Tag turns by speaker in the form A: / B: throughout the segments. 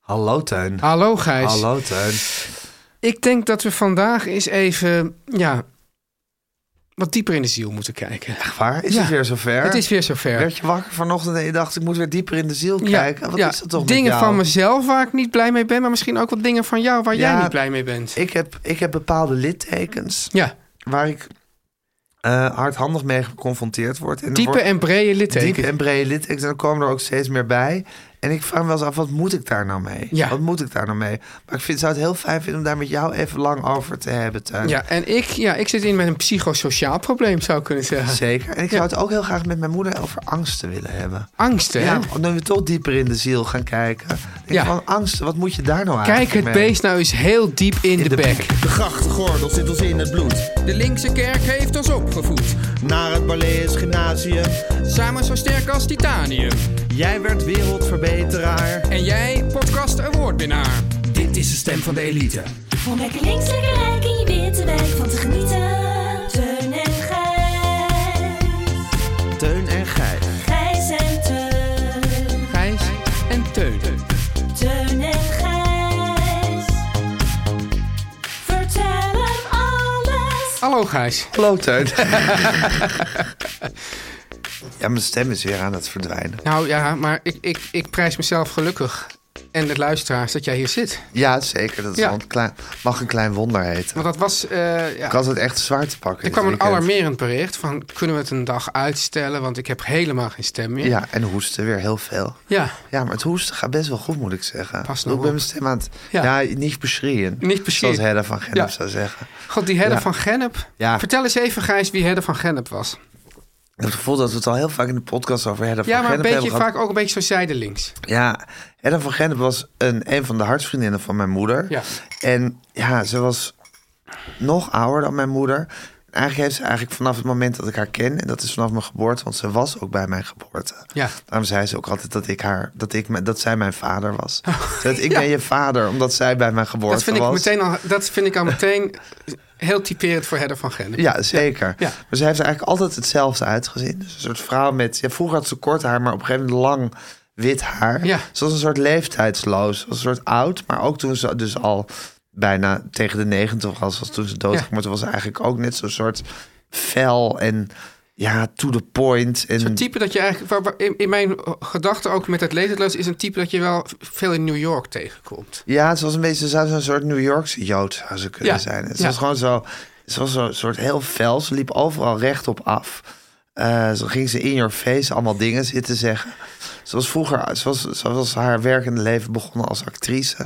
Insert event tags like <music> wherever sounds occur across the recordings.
A: Hallo Teun.
B: Hallo Gijs.
A: Hallo Teun.
B: Ik denk dat we vandaag eens even ja, wat dieper in de ziel moeten kijken.
A: Echt waar? Is
B: Ja.
A: het weer zover?
B: Het is weer zover.
A: Werd je wakker vanochtend en je dacht, ik moet weer dieper in de ziel
B: Ja,
A: kijken? Wat
B: ja,
A: is dat toch met
B: dingen
A: jou?
B: van mezelf waar ik niet blij mee ben, maar misschien ook wat dingen van jou waar
A: Ja,
B: jij niet blij mee bent.
A: Ik heb, ik heb bepaalde littekens
B: ja,
A: waar ik eh, hardhandig mee geconfronteerd word. En er
B: diepe
A: wordt-
B: en brede littekens.
A: Diep en brede littekens. En dan komen er ook steeds meer bij. En ik vraag me wel eens af, wat moet ik daar nou mee?
B: Ja.
A: Wat moet ik daar nou mee? Maar ik vind, zou het heel fijn vinden om daar met jou even lang over te hebben, Teun.
B: Ja, en ik, ja, ik zit in met een psychosociaal probleem, zou ik kunnen zeggen.
A: Zeker. En ik zou het ook heel graag met mijn moeder over angsten willen hebben.
B: Angsten, hè?
A: Ja, omdat we toch dieper in de ziel gaan kijken. Ik
B: Ja.
A: Van angst, wat moet je daar nou
B: Kijk
A: eigenlijk
B: het
A: mee?
B: beest nou eens heel diep in, de,
A: de
B: bek.
A: bek.
C: De grachtgordel zit ons in het bloed.
D: De linkse kerk heeft ons opgevoed,
C: Naar het Barlees Gymnasium.
D: samen zo sterk als titanium.
C: Jij werd wereldverbeteraar.
D: En jij, podcast awardwinnaar. Dit is de stem van de elite.
E: Om lekker links, lekker rijk in je witte wijk van te genieten. Teun en Gijs.
C: Teun en Gijs.
E: Gijs en Teun.
B: Gijs en Teun.
E: Teun en Gijs. Vertel hem alles.
B: Hallo Gijs.
A: Hallo, <laughs> Teun. ja, mijn stem is weer aan het verdwijnen.
B: Nou ja, maar ik, ik, ik prijs mezelf gelukkig. En de luisteraars dat jij hier zit.
A: Ja, zeker. Dat is
B: Ja.
A: wel een klein, mag een klein wonder heten.
B: Want dat was. eh, ja,
A: Ik had het echt zwaar te pakken.
B: er
A: dit
B: kwam een
A: weekend.
B: alarmerend bericht van kunnen we het een dag uitstellen, want ik heb helemaal geen stem meer.
A: Ja, en hoesten weer heel veel.
B: Ja,
A: Ja, maar het hoesten gaat best wel goed, moet ik zeggen.
B: Pas
A: Ik ben
B: nou
A: mijn
B: op.
A: stem aan het... Ja,
B: Ja.
A: niet beschreeuwen.
B: Niet beschreeuwen.
A: Zoals Hedda van Gennep
B: Ja.
A: zou zeggen.
B: God, die Hedde
A: Ja.
B: van Gennep.
A: Ja.
B: Vertel eens even, Gijs, wie Hedde van Gennep was.
A: Ik heb het gevoel dat we het al heel vaak in de podcast over Hedda
B: Ja,
A: van
B: maar een
A: Gennep
B: beetje
A: hebben gehad.
B: vaak ook een beetje zo zijdelings.
A: Ja, Hedda van Gennep was een, een van de hartsvriendinnen van mijn moeder.
B: Ja.
A: En ja, ze was nog ouder dan mijn moeder. Eigenlijk heeft ze eigenlijk vanaf het moment dat ik haar ken... en dat is vanaf mijn geboorte, want ze was ook bij mijn geboorte.
B: Ja.
A: Daarom zei ze ook altijd dat, ik haar, dat, ik, me- dat zij mijn vader was. Ze zei,
B: <laughs>
A: ik ben je vader, omdat zij bij mijn geboorte
B: Oh. Dat vind, ik
A: was.
B: meteen al, dat vind ik al meteen heel typerend voor Hedde van Gennep.
A: Ja, zeker.
B: Ja.
A: Maar ze heeft er eigenlijk altijd hetzelfde uitgezien. Dus een soort vrouw met... Ja, vroeger had ze kort haar, maar op een gegeven moment lang wit haar.
B: Ja.
A: Ze was een soort leeftijdsloos. Ze was een soort oud, maar ook toen ze dus al bijna tegen de negentig was. was toen ze doodging,
B: Ja.
A: maar toen was ze eigenlijk ook net zo'n soort fel en ja, to the point. En
B: Een type dat je eigenlijk, waar- waar- in, in mijn gedachten ook met het leeftijdloos, is een type dat je wel veel in New York tegenkomt.
A: Ja, ze was een beetje, ze zou zo'n soort New Yorkse Jood zou ze kunnen
B: Ja,
A: zijn. En Ze
B: ja.
A: was gewoon zo, ze was zo'n soort heel fel. Ze liep overal rechtop af. Eh, zo ging ze in your face allemaal dingen zitten zeggen. Ze was vroeger, ze was, ze was haar werkende leven begonnen als actrice.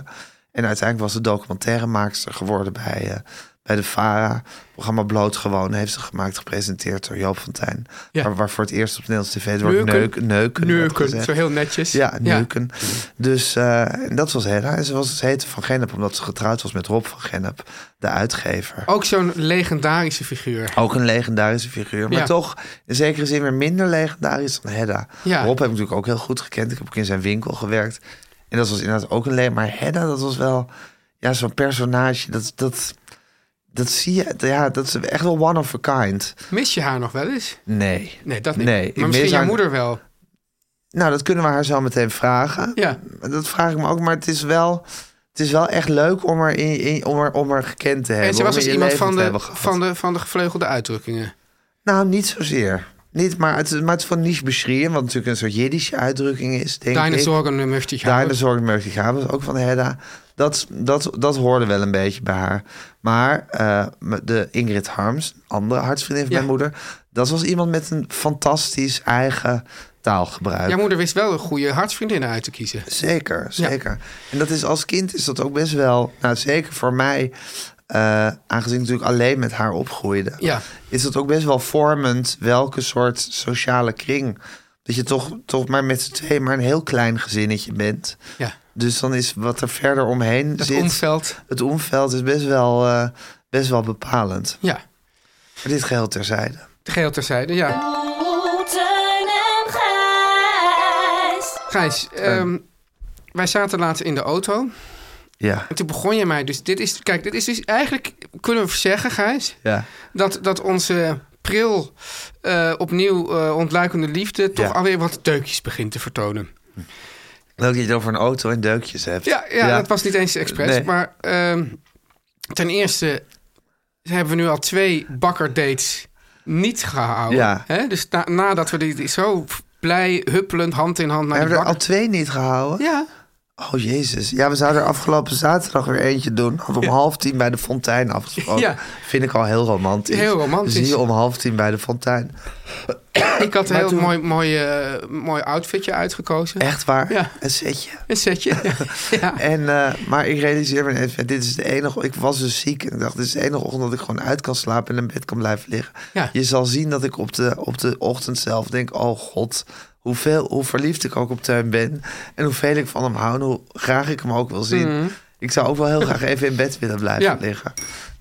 A: En uiteindelijk was ze documentairemaakster geworden bij, eh, bij de VARA. Het programma Blootgewoon heeft ze gemaakt, gepresenteerd door Joop van Tijn.
B: Ja.
A: Waar, waar voor het eerst op Nederlands tv het woord
B: Neuken.
A: neuken, neuken, werd
B: Neuken,
A: gezegd.
B: zo heel netjes.
A: Ja, neuken. Dus eh, en dat was Hedda. En ze, was, ze heette Van Gennep omdat ze getrouwd was met Rob van Gennep, de uitgever.
B: Ook zo'n legendarische figuur.
A: Ook een legendarische figuur, maar
B: Oh. Ja.
A: toch in zekere zin weer minder legendarisch dan Hedda.
B: Ja.
A: Rob heb ik natuurlijk ook heel goed gekend. Ik heb ook in zijn winkel gewerkt. En dat was inderdaad ook een le Maar Hedda, dat was wel ja, zo'n personage. Dat, dat, dat zie je, ja, dat is echt wel one of a kind.
B: Mis je haar nog wel eens?
A: Nee.
B: Nee, dat niet.
A: Nee, ik mis
B: maar misschien jouw
A: haar-
B: moeder wel.
A: Nou, dat kunnen we haar zo meteen vragen.
B: Ja.
A: Dat vraag ik me ook, maar het is wel, het is wel echt leuk om haar, in, in- om haar, om haar gekend te hebben.
B: En ze
A: om
B: was
A: haar
B: dus
A: in je
B: iemand
A: leven
B: van
A: te
B: de,
A: hebben gehad.
B: van, de, van de gevleugelde uitdrukkingen.
A: Nou, niet zozeer. Niet, maar het, is- maar het is van niche beschreven, wat natuurlijk een soort Jiddische uitdrukking is, denk ik.
B: Dinosaur en möchte ich haben.
A: Dinosaur Murphy Gabels, dus ook van Hedda. Dat, dat, dat hoorde wel een beetje bij haar. Maar eh, me- de Ingrid Harms, andere hartsvriendin van
B: Ja.
A: mijn moeder... dat was iemand met een fantastisch eigen taalgebruik.
B: Jouw moeder wist wel een goede hartsvriendinnen uit te kiezen.
A: Zeker, zeker. En dat is als kind is dat ook best wel... Nou, zeker voor mij, eh, aangezien ik natuurlijk alleen met haar opgroeide...
B: Ja.
A: is dat ook best wel vormend welke soort sociale kring... dat je toch, toch maar met z'n tweeën maar een heel klein gezinnetje bent...
B: Ja.
A: Dus dan is wat er verder omheen
B: Dat
A: zit.
B: omveld.
A: Het omveld is best wel, eh, best wel bepalend.
B: Ja.
A: Maar dit geheel terzijde.
B: Geheel terzijde, ja.
E: Oh, Teun en Gijs.
B: Gijs,
A: Eh.
B: ehm, wij zaten laatst in de auto.
A: Ja.
B: En toen begon je mij dus... Dit is, kijk, dit is dus eigenlijk... Kunnen we zeggen, Gijs...
A: Ja.
B: dat, dat onze pril eh, opnieuw eh, ontluikende liefde... toch
A: Ja.
B: alweer wat deukjes begint te vertonen.
A: Dat je het over een auto en deukjes hebt.
B: Ja, ja, dat was niet eens expres.
A: Nee.
B: Maar ehm, ten eerste hebben we nu al twee bakkerdates niet gehouden.
A: Ja.
B: Hè? Dus na- nadat we die, die zo blij, huppelend, hand in hand
A: We
B: naar die
A: hebben er al
B: bakker...
A: twee niet gehouden.
B: Ja,
A: Oh jezus. Ja, we zouden er afgelopen zaterdag weer eentje doen. Had om half tien bij de fontein afgesproken.
B: Ja.
A: Vind ik al heel romantisch.
B: Heel romantisch.
A: Zie je om half tien bij de fontein.
B: ik had een heel mooi, mooi, eh, mooi outfitje uitgekozen.
A: Echt waar?
B: Ja.
A: Een setje.
B: Een setje.
A: <laughs>
B: ja.
A: En, eh, maar ik realiseer me even, dit is de enige... Ik was dus ziek en ik dacht, dit is de enige ochtend dat ik gewoon uit kan slapen... en in bed kan blijven liggen.
B: Ja.
A: Je zal zien dat ik op de, op de ochtend zelf denk, oh god... Hoeveel, hoe verliefd ik ook op Teun ben. En hoeveel ik van hem hou en hoe graag ik hem ook wil zien. Ik zou ook wel heel graag even in bed willen blijven
B: Mhm. Ja.
A: liggen.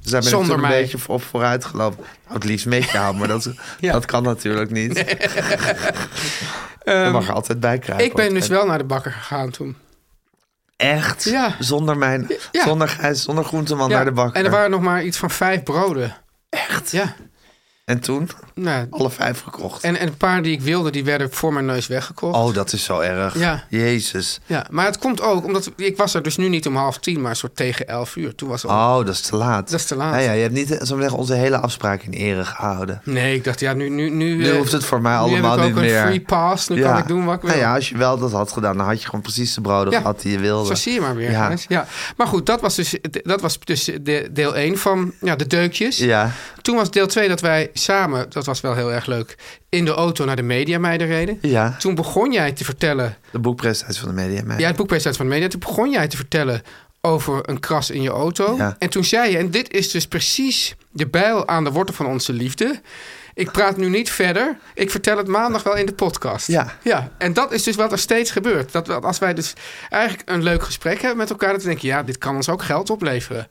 A: Dus daar ben
B: Zonder
A: ik natuurlijk
B: mij.
A: een beetje op vooruit gelopen. Nou, het liefst met jou, maar dat,
B: <laughs> Ja.
A: dat kan natuurlijk niet.
B: <laughs>
A: Je mag er altijd bij krijgen.
B: Ehm, Ik ben
A: hoor.
B: dus wel naar de bakker gegaan toen.
A: Echt?
B: Ja.
A: Zonder mijn...
B: Ja.
A: Zonder Gijs, zonder groenteman
B: Ja,
A: naar de bakker.
B: En er waren nog maar iets van vijf broden. Echt? Ja.
A: En toen?
B: Nou,
A: Alle vijf gekocht.
B: en, en een paar die ik wilde, die werden voor mijn neus weggekocht.
A: Oh, dat is zo erg.
B: Ja.
A: Jezus.
B: Ja, maar het komt ook omdat ik was er dus nu niet om half tien, maar soort tegen elf uur. Toen was al.
A: Oh, dat is te laat.
B: Dat is te laat.
A: Nou ja, je hebt niet eh, zullen we zeggen, onze hele afspraak in ere gehouden.
B: Nee, ik dacht ja, nu nu nu.
A: Nu
B: eh,
A: hoeft het voor mij allemaal
B: nu heb ik
A: niet
B: ook
A: meer.
B: een free pass. Nu
A: Ja.
B: kan ik doen wat ik wil.
A: Nou ja, als je wel dat had gedaan, dan had je gewoon precies de broden
B: Ja.
A: gehad die je wilde.
B: Zo zie je maar weer.
A: Ja.
B: Gijs. Ja. Maar goed, dat was dus, dat was dus de, deel 1 van ja, de deukjes.
A: Ja,
B: Toen was deel 2 dat wij samen, dat was wel heel erg leuk, in de auto naar de mediameiden reden.
A: Ja.
B: Toen begon jij te vertellen,
A: de boekpresentatie van de media. meid.
B: ja, het boekprijs uit van de media, toen begon jij te vertellen over een kras in je auto.
A: Ja.
B: En toen zei je, en dit is dus precies de bijl aan de wortel van onze liefde. Ik praat nu niet verder. Ik vertel het maandag wel in de podcast.
A: Ja.
B: ja. En dat is dus wat er steeds gebeurt. Dat we- als wij dus eigenlijk een leuk gesprek hebben met elkaar, dat we denken, ja, dit kan ons ook geld opleveren.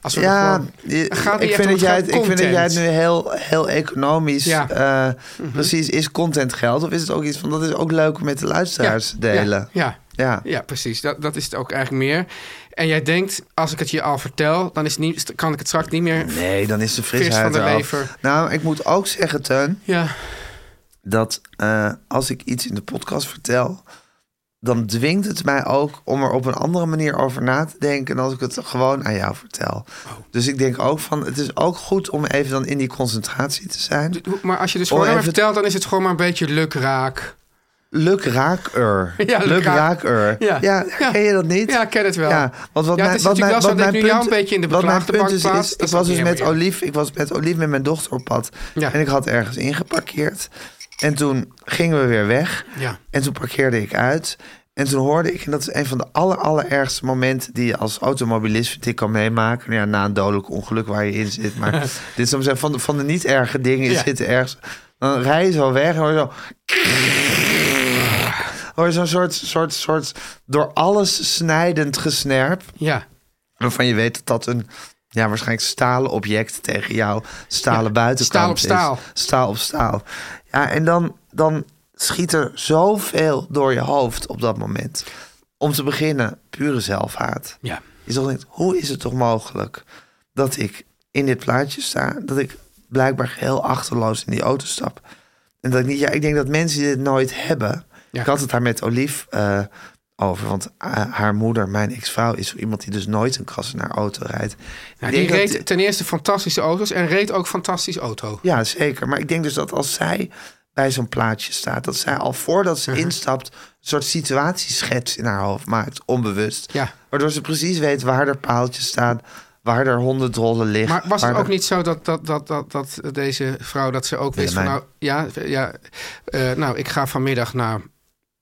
B: Als we er
A: Ja,
B: gewoon-
A: je-
B: Het gaat niet
A: ik,
B: echt
A: vind
B: om
A: dat jij,
B: geld,
A: het- ik vind dat jij het nu
B: content.
A: heel, heel economisch.
B: Ja. Mhm.
A: eh, Precies, is content geld? Of is het ook iets van dat is ook leuk om met de luisteraars te delen?
B: Ja, ja.
A: Ja.
B: Ja, precies. Dat, dat is het ook eigenlijk meer. En jij denkt, als ik het je al vertel, dan is het niet, kan ik het straks niet meer.
A: Nee, dan is de frisheid
B: van de
A: eraf.
B: lever.
A: Nou, ik moet ook zeggen, Teun,
B: Ja,
A: dat eh, als ik iets in de podcast vertel, dan dwingt het mij ook om er op een andere manier over na te denken dan als ik het gewoon aan jou vertel.
B: Oh.
A: Dus ik denk ook van, het is ook goed om even dan in die concentratie te zijn.
B: maar als je dus
A: Oh,
B: gewoon aan mij
A: even-
B: vertelt, dan is het gewoon maar een beetje lukraak.
A: Luk raak-er.
B: <laughs> Ja, luk
A: luk
B: raak-
A: raak-er.
B: Ja.
A: Ja.
B: Ja.
A: ken je dat niet?
B: Ja, ik ken het wel.
A: Ja, want wat
B: Ja, het
A: mijn,
B: is
A: wat
B: natuurlijk
A: mijn,
B: wel zo
A: wat
B: dat
A: mijn
B: ik nu
A: punt,
B: jou een beetje in de
A: wat mijn
B: beklaagde
A: punt
B: bank
A: is, is,
B: plaats, dat
A: ik
B: is ook
A: was dus
B: niet
A: met
B: helemaal
A: Olief, ik was met Olief met mijn dochter op pad.
B: Ja.
A: En ik had ergens ingeparkeerd. En toen gingen we weer weg.
B: Ja.
A: En toen parkeerde ik uit. En toen hoorde ik, en dat is een van de aller, allerergste momenten die je als automobilist vind ik kan meemaken. Nou Ja, na een dodelijk ongeluk waar je in zit. Maar dit is om te zeggen, van de, van de niet erge dingen is
B: Ja.
A: dit ergens. Dan rij je zo weg en hoor je zo. Hoor je zo'n soort, soort, soort door alles snijdend gesnerp.
B: Ja.
A: Waarvan je weet dat dat een ja, waarschijnlijk stalen object tegen jou stalen
B: Ja,
A: buitenkant
B: staal op
A: is.
B: staal.
A: Staal op staal. Ja, en dan, dan schiet er zoveel door je hoofd op dat moment. Om te beginnen, pure zelfhaat.
B: Ja.
A: Je zult denken, hoe is het toch mogelijk dat ik in dit plaatje sta... dat ik blijkbaar heel achterloos in die auto stap. En dat ik niet... Ja, ik denk dat mensen dit nooit hebben.
B: Ja.
A: Ik had het daar met Olief eh, over. Want eh, haar moeder, mijn ex-vrouw, is zo iemand die dus nooit een kras in haar auto rijdt.
B: Nou,
A: Ik denk
B: die
A: dat-
B: reed ten eerste fantastische auto's en reed ook fantastisch auto.
A: ja, zeker. Maar ik denk dus dat als zij bij zo'n plaatje staat. Dat zij al voordat
B: Mhm.
A: ze instapt een soort situatieschets in haar hoofd maakt, onbewust.
B: Ja.
A: Waardoor ze precies weet waar er paaltjes staan, waar er hondendrollen liggen.
B: Maar was
A: waar
B: het ook
A: er-
B: niet zo dat, dat, dat, dat, dat deze vrouw dat ze ook wist van nou,
A: Willemijn.
B: ja, ja eh, nou, ik ga vanmiddag naar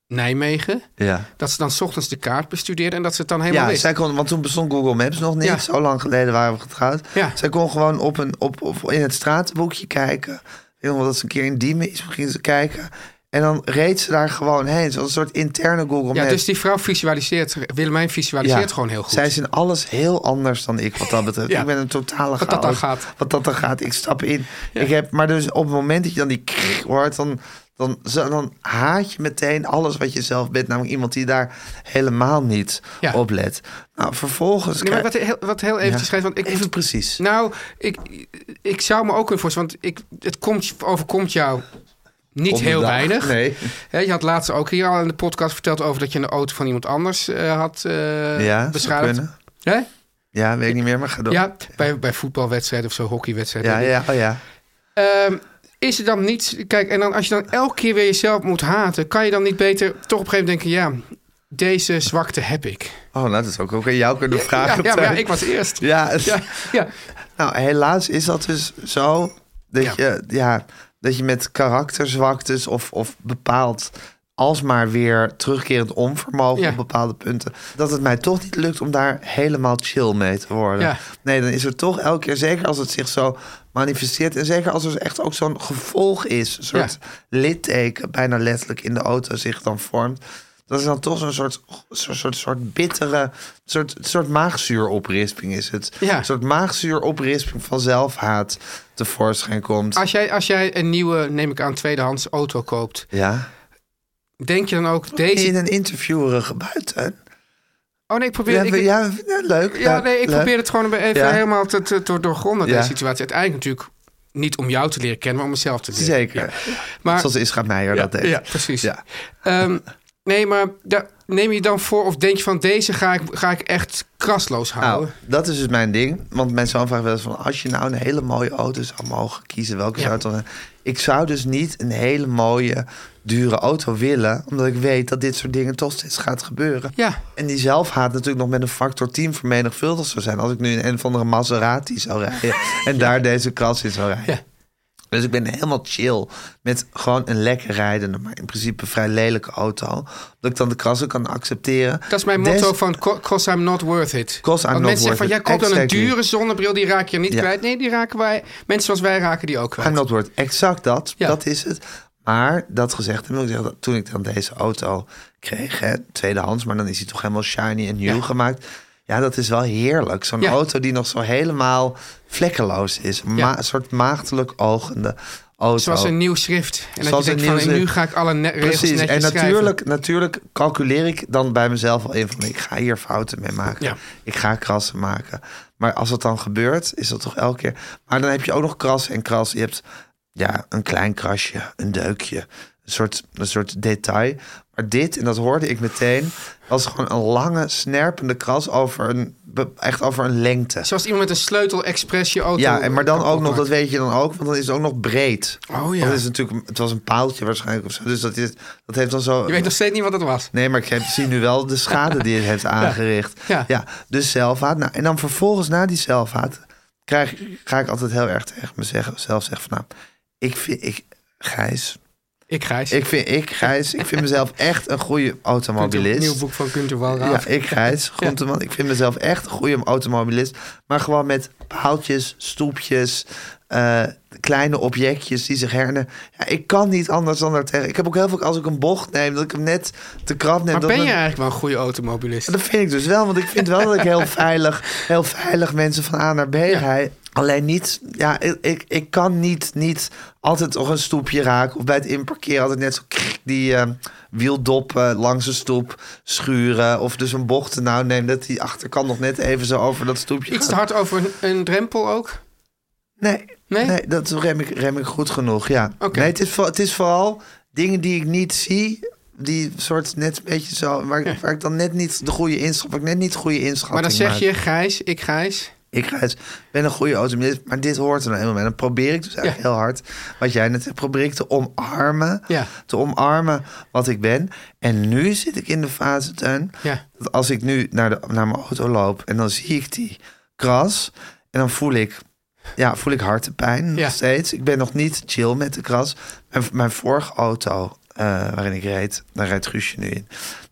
B: Nijmegen.
A: Ja.
B: Dat ze dan 's ochtends de kaart bestudeerde en dat ze het dan helemaal
A: Ja,
B: wist.
A: zij kon, want toen bestond Google Maps nog niet.
B: Ja.
A: Zo lang geleden waren we getrouwd.
B: Ja.
A: Zij kon gewoon op een, op, op, in het stratenboekje kijken. Ik weet nog wel dat ze een keer in Diemen is, ging ze kijken. En dan reed ze daar gewoon heen. Zo'n soort interne Google
B: Ja,
A: Maps.
B: dus die vrouw visualiseert, Willemijn visualiseert gewoon heel goed.
A: Zij is in alles heel anders dan ik wat dat betreft.
B: <laughs> Ja.
A: Ik ben een totale
B: Wat dat dan
A: chaos.
B: gaat.
A: Wat dat dan gaat. Ik stap in. Ik heb, maar dus op het moment dat je dan die krrr hoort, dan, dan, zo- dan haat je meteen alles wat je zelf bent. Namelijk iemand die daar helemaal niet
B: Ja.
A: op let. Nou, vervolgens...
B: Nee, maar
A: krijg-
B: wat heel, wat heel eventjes
A: Ja.
B: schrijft, want ik moet-
A: Even precies.
B: Nou, ik, ik zou me ook kunnen voorstellen, want ik, het komt, overkomt jou niet
A: Op de
B: heel
A: dag.
B: weinig.
A: Nee.
B: Hè, je had laatst ook hier al in de podcast verteld over dat je een auto van iemand anders eh, had eh
A: ja, zou
B: beschadigd.
A: kunnen.
B: Hè?
A: Ja, weet ik niet meer, maar ga door.
B: Ja, bij, bij voetbalwedstrijden of zo, hockeywedstrijden.
A: ja, ja, oh ja.
B: Ehm, is er dan niet... Kijk, en dan, als je dan elke keer weer jezelf moet haten... kan je dan niet beter toch op een gegeven moment denken... ja, deze zwakte heb ik.
A: Oh, nou, dat is ook, ook aan jou kunnen
B: Ja,
A: vragen.
B: ja, maar ja,
A: Teun.
B: ik was eerst.
A: Ja, het-
B: Ja, ja.
A: nou, helaas is dat dus zo dat,
B: Ja.
A: Je, ja, dat je met karakterzwaktes of, of bepaald alsmaar weer terugkerend onvermogen
B: Ja.
A: op bepaalde punten, dat het mij toch niet lukt om daar helemaal chill mee te worden.
B: Ja.
A: Nee, dan is er toch elke keer, zeker als het zich zo manifesteert en zeker als er echt ook zo'n gevolg is, een soort litteken, bijna letterlijk in de auto zich dan vormt, dat is dan toch zo'n soort, soort, soort, soort bittere, soort, soort maagzuuroprisping is het.
B: Ja.
A: Een soort maagzuuroprisping van zelfhaat tevoorschijn komt.
B: Als jij, als jij een nieuwe, neem ik aan, tweedehands auto koopt...
A: Ja.
B: denk je dan ook deze...
A: In een interviewerige buiten.
B: Oh nee, ik probeer...
A: Ja,
B: ik,
A: we- ja, ja, leuk.
B: ja, nee, ik
A: leuk.
B: probeer het gewoon even
A: Ja.
B: helemaal te, te, te doorgronden, deze
A: Ja.
B: situatie. Uiteindelijk natuurlijk niet om jou te leren kennen, maar om mezelf te leren
A: Zeker.
B: Maar,
A: Zoals Isra Meijer
B: ja,
A: dat deed.
B: ja, precies.
A: Ja.
B: Ehm, nee, maar daar neem je dan voor of denk je van deze ga ik, ga ik echt krasloos
A: Nou,
B: houden?
A: dat is dus mijn ding. Want mijn zoon vraagt wel eens van... als je nou een hele mooie auto zou mogen kiezen... welke
B: Ja.
A: zou het dan zijn? Ik zou dus niet een hele mooie, dure auto willen... omdat ik weet dat dit soort dingen toch steeds gaat gebeuren.
B: Ja.
A: En die zelfhaat natuurlijk nog met een factor 10 vermenigvuldigd zou zijn... als ik nu in een of andere Maserati zou
B: <laughs>
A: rijden... en daar deze kras in zou rijden.
B: Ja.
A: Dus ik ben helemaal chill met gewoon een lekker rijdende... maar in principe vrij lelijke auto. Dat ik dan de krassen kan accepteren.
B: Dat is mijn
A: Des-
B: motto van co- 'cause I'm not worth it.
A: 'Cause I'm
B: Want
A: not
B: mensen zeggen van,
A: worth
B: jij
A: it.
B: koopt dan een
A: Exactly.
B: dure zonnebril, die raak je niet
A: Ja.
B: kwijt. Nee, die raken wij, mensen zoals wij raken die ook kwijt.
A: I'm not worth. Exact dat.
B: Ja.
A: Dat is het. Maar dat gezegd, dan wil ik zeggen dat toen ik dan deze auto kreeg, hè, tweedehands, maar dan is hij toch helemaal shiny en nieuw
B: Ja.
A: gemaakt. Ja, dat is wel heerlijk. Zo'n
B: Ja.
A: auto die nog zo helemaal vlekkeloos is. Ma-
B: Ja.
A: Een soort maagdelijk ogende auto.
B: Zoals een nieuw schrift. En dat
A: Oh. Zoals
B: je
A: een
B: denkt van,
A: nieuw
B: en nu
A: schrift.
B: ga ik alle ne- regels
A: Precies.
B: netjes
A: En
B: schrijven.
A: natuurlijk, natuurlijk calculeer ik dan bij mezelf al in van ik ga hier fouten mee maken.
B: Ja.
A: Ik ga krassen maken. Maar als dat dan gebeurt, is dat toch elke keer. Maar dan heb je ook nog kras en kras. Je hebt ja, een klein krasje, een deukje, een soort, een soort detail. Maar dit, en dat hoorde ik meteen, was gewoon een lange, snerpende kras over een, be- echt over een lengte.
B: Zoals iemand met een sleutel expres je auto...
A: Ja, en maar dan
B: kapot
A: ook nog,
B: maakt.
A: dat weet je dan ook, want dan is het ook nog breed.
B: Oh ja.
A: Dat is natuurlijk, het was een paaltje waarschijnlijk of zo. Dus dat, is, dat heeft dan zo.
B: Je weet nog steeds niet wat het was.
A: Nee, maar ik heb, zie nu wel de schade die het heeft aangericht.
B: <laughs> Ja.
A: dus zelfhaat. Nou, en dan vervolgens na die zelfhaat krijg, ga ik altijd heel erg tegen mezelf zeggen van... Nou, ik vind, ik, Gijs,
B: Ik Gijs.
A: ik vind, ik, Gijs, ik vind mezelf echt een goede
B: Een nieuw
A: automobilist.
B: boek van Gunther Walraaf.
A: Ja, ik
B: <laughs>
A: Gijs, groenteman. Ik vind mezelf echt een goede automobilist. Maar gewoon met paaltjes, stoepjes, eh, kleine objectjes die zich hernen. Ja, ik kan niet anders dan daar tegen. Ik heb ook heel veel, als ik een bocht neem, dat ik hem net te krap neem.
B: maar
A: dat
B: ben je
A: mijn-
B: eigenlijk wel een goede automobilist?
A: dat vind ik dus wel, want ik vind wel dat ik
B: <laughs>
A: heel veilig, heel veilig mensen van A naar B rijd. Alleen niet, ja, ik- ik, ik kan niet, niet altijd nog een stoepje raken. Of bij het inparkeren altijd net zo krik, die eh, wieldop eh, langs een stoep schuren. Of dus een bocht er nou neem dat die achterkant nog net even zo over dat stoepje
B: Iets te
A: gaat.
B: hard over een, een drempel ook?
A: Nee,
B: Nee?
A: nee? dat rem ik, rem ik goed genoeg, ja.
B: Oké.
A: Nee, het is, voor- het is vooral dingen die ik niet zie... Die soort net een beetje zo, waar, ik- waar ik dan net niet de goede inschat, waar ik net niet de goede inschatting
B: Maar dan zeg
A: maak.
B: je Gijs, ik Gijs.
A: Ik rijd, ben een goede auto, maar dit, maar dit hoort er nou helemaal bij. Dan probeer ik dus eigenlijk
B: Ja.
A: heel hard, wat jij net zegt, probeer ik te omarmen.
B: Ja.
A: Te omarmen wat ik ben. En nu zit ik in de fase, Teun,
B: Ja.
A: dat als ik nu naar, de, naar mijn auto loop en dan zie ik die kras en dan voel ik... Ja, voel ik hartepijn nog
B: Ja.
A: steeds. Ik ben nog niet chill met de kras. Mijn, mijn vorige auto eh, waarin ik reed, daar rijdt Guusje nu in.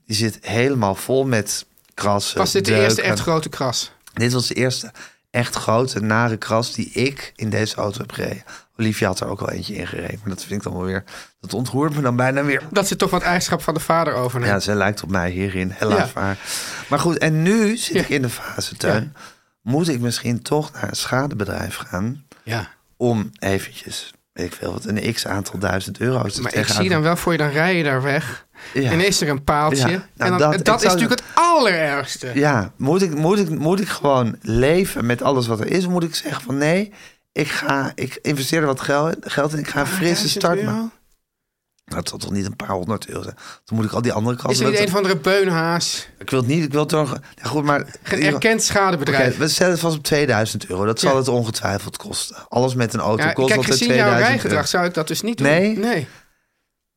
A: Die zit helemaal vol met krassen.
B: Was dit de
A: deuken.
B: eerste echt grote kras?
A: Dit was de eerste echt grote, nare kras die ik in deze auto heb gereden. Olivia had er ook wel eentje in gereden. Maar dat vind ik dan wel weer... Dat ontroert me dan bijna weer.
B: Dat ze toch wat eigenschap van de vader overneemt.
A: Ja, ze lijkt op mij hierin.
B: Ja.
A: Helaas maar. Maar goed, en nu zit
B: Ja.
A: ik in de fase, Teun. Moet ik misschien toch naar een schadebedrijf gaan...
B: Ja.
A: om eventjes, weet ik veel wat, een x-aantal duizend euro's te
B: Maar ik
A: tegenaan-
B: zie dan wel voor je, dan rij je daar weg.
A: Ja.
B: En is er een paaltje.
A: Ja, nou,
B: en dan,
A: dat-
B: dat,
A: ik
B: is
A: zou-
B: natuurlijk het allerergste.
A: Ja, moet ik, moet, ik, moet ik gewoon leven met alles wat er is? Of Moet ik zeggen van nee, ik, ga, ik investeer er wat geld, geld in. Ik ga een frisse
B: 1000
A: start
B: Ah, euro?
A: maken. Nou, het zal toch niet een paar honderd euro zijn. Dan moet ik al die andere
B: Is
A: kanten...
B: er niet een van de beunhaas?
A: Ik wil het niet, ik wil toch... Ja, goed, maar...
B: Een erkend
A: Oké,
B: schadebedrijf.
A: we zetten het vast op 2000 euro. Dat zal
B: Ja.
A: het ongetwijfeld kosten. Alles met een auto
B: Ja,
A: kost
B: kijk,
A: altijd
B: gezien jouw
A: 2000 euro.
B: rijgedrag zou ik dat dus niet doen.
A: eh, Nee?
B: nee.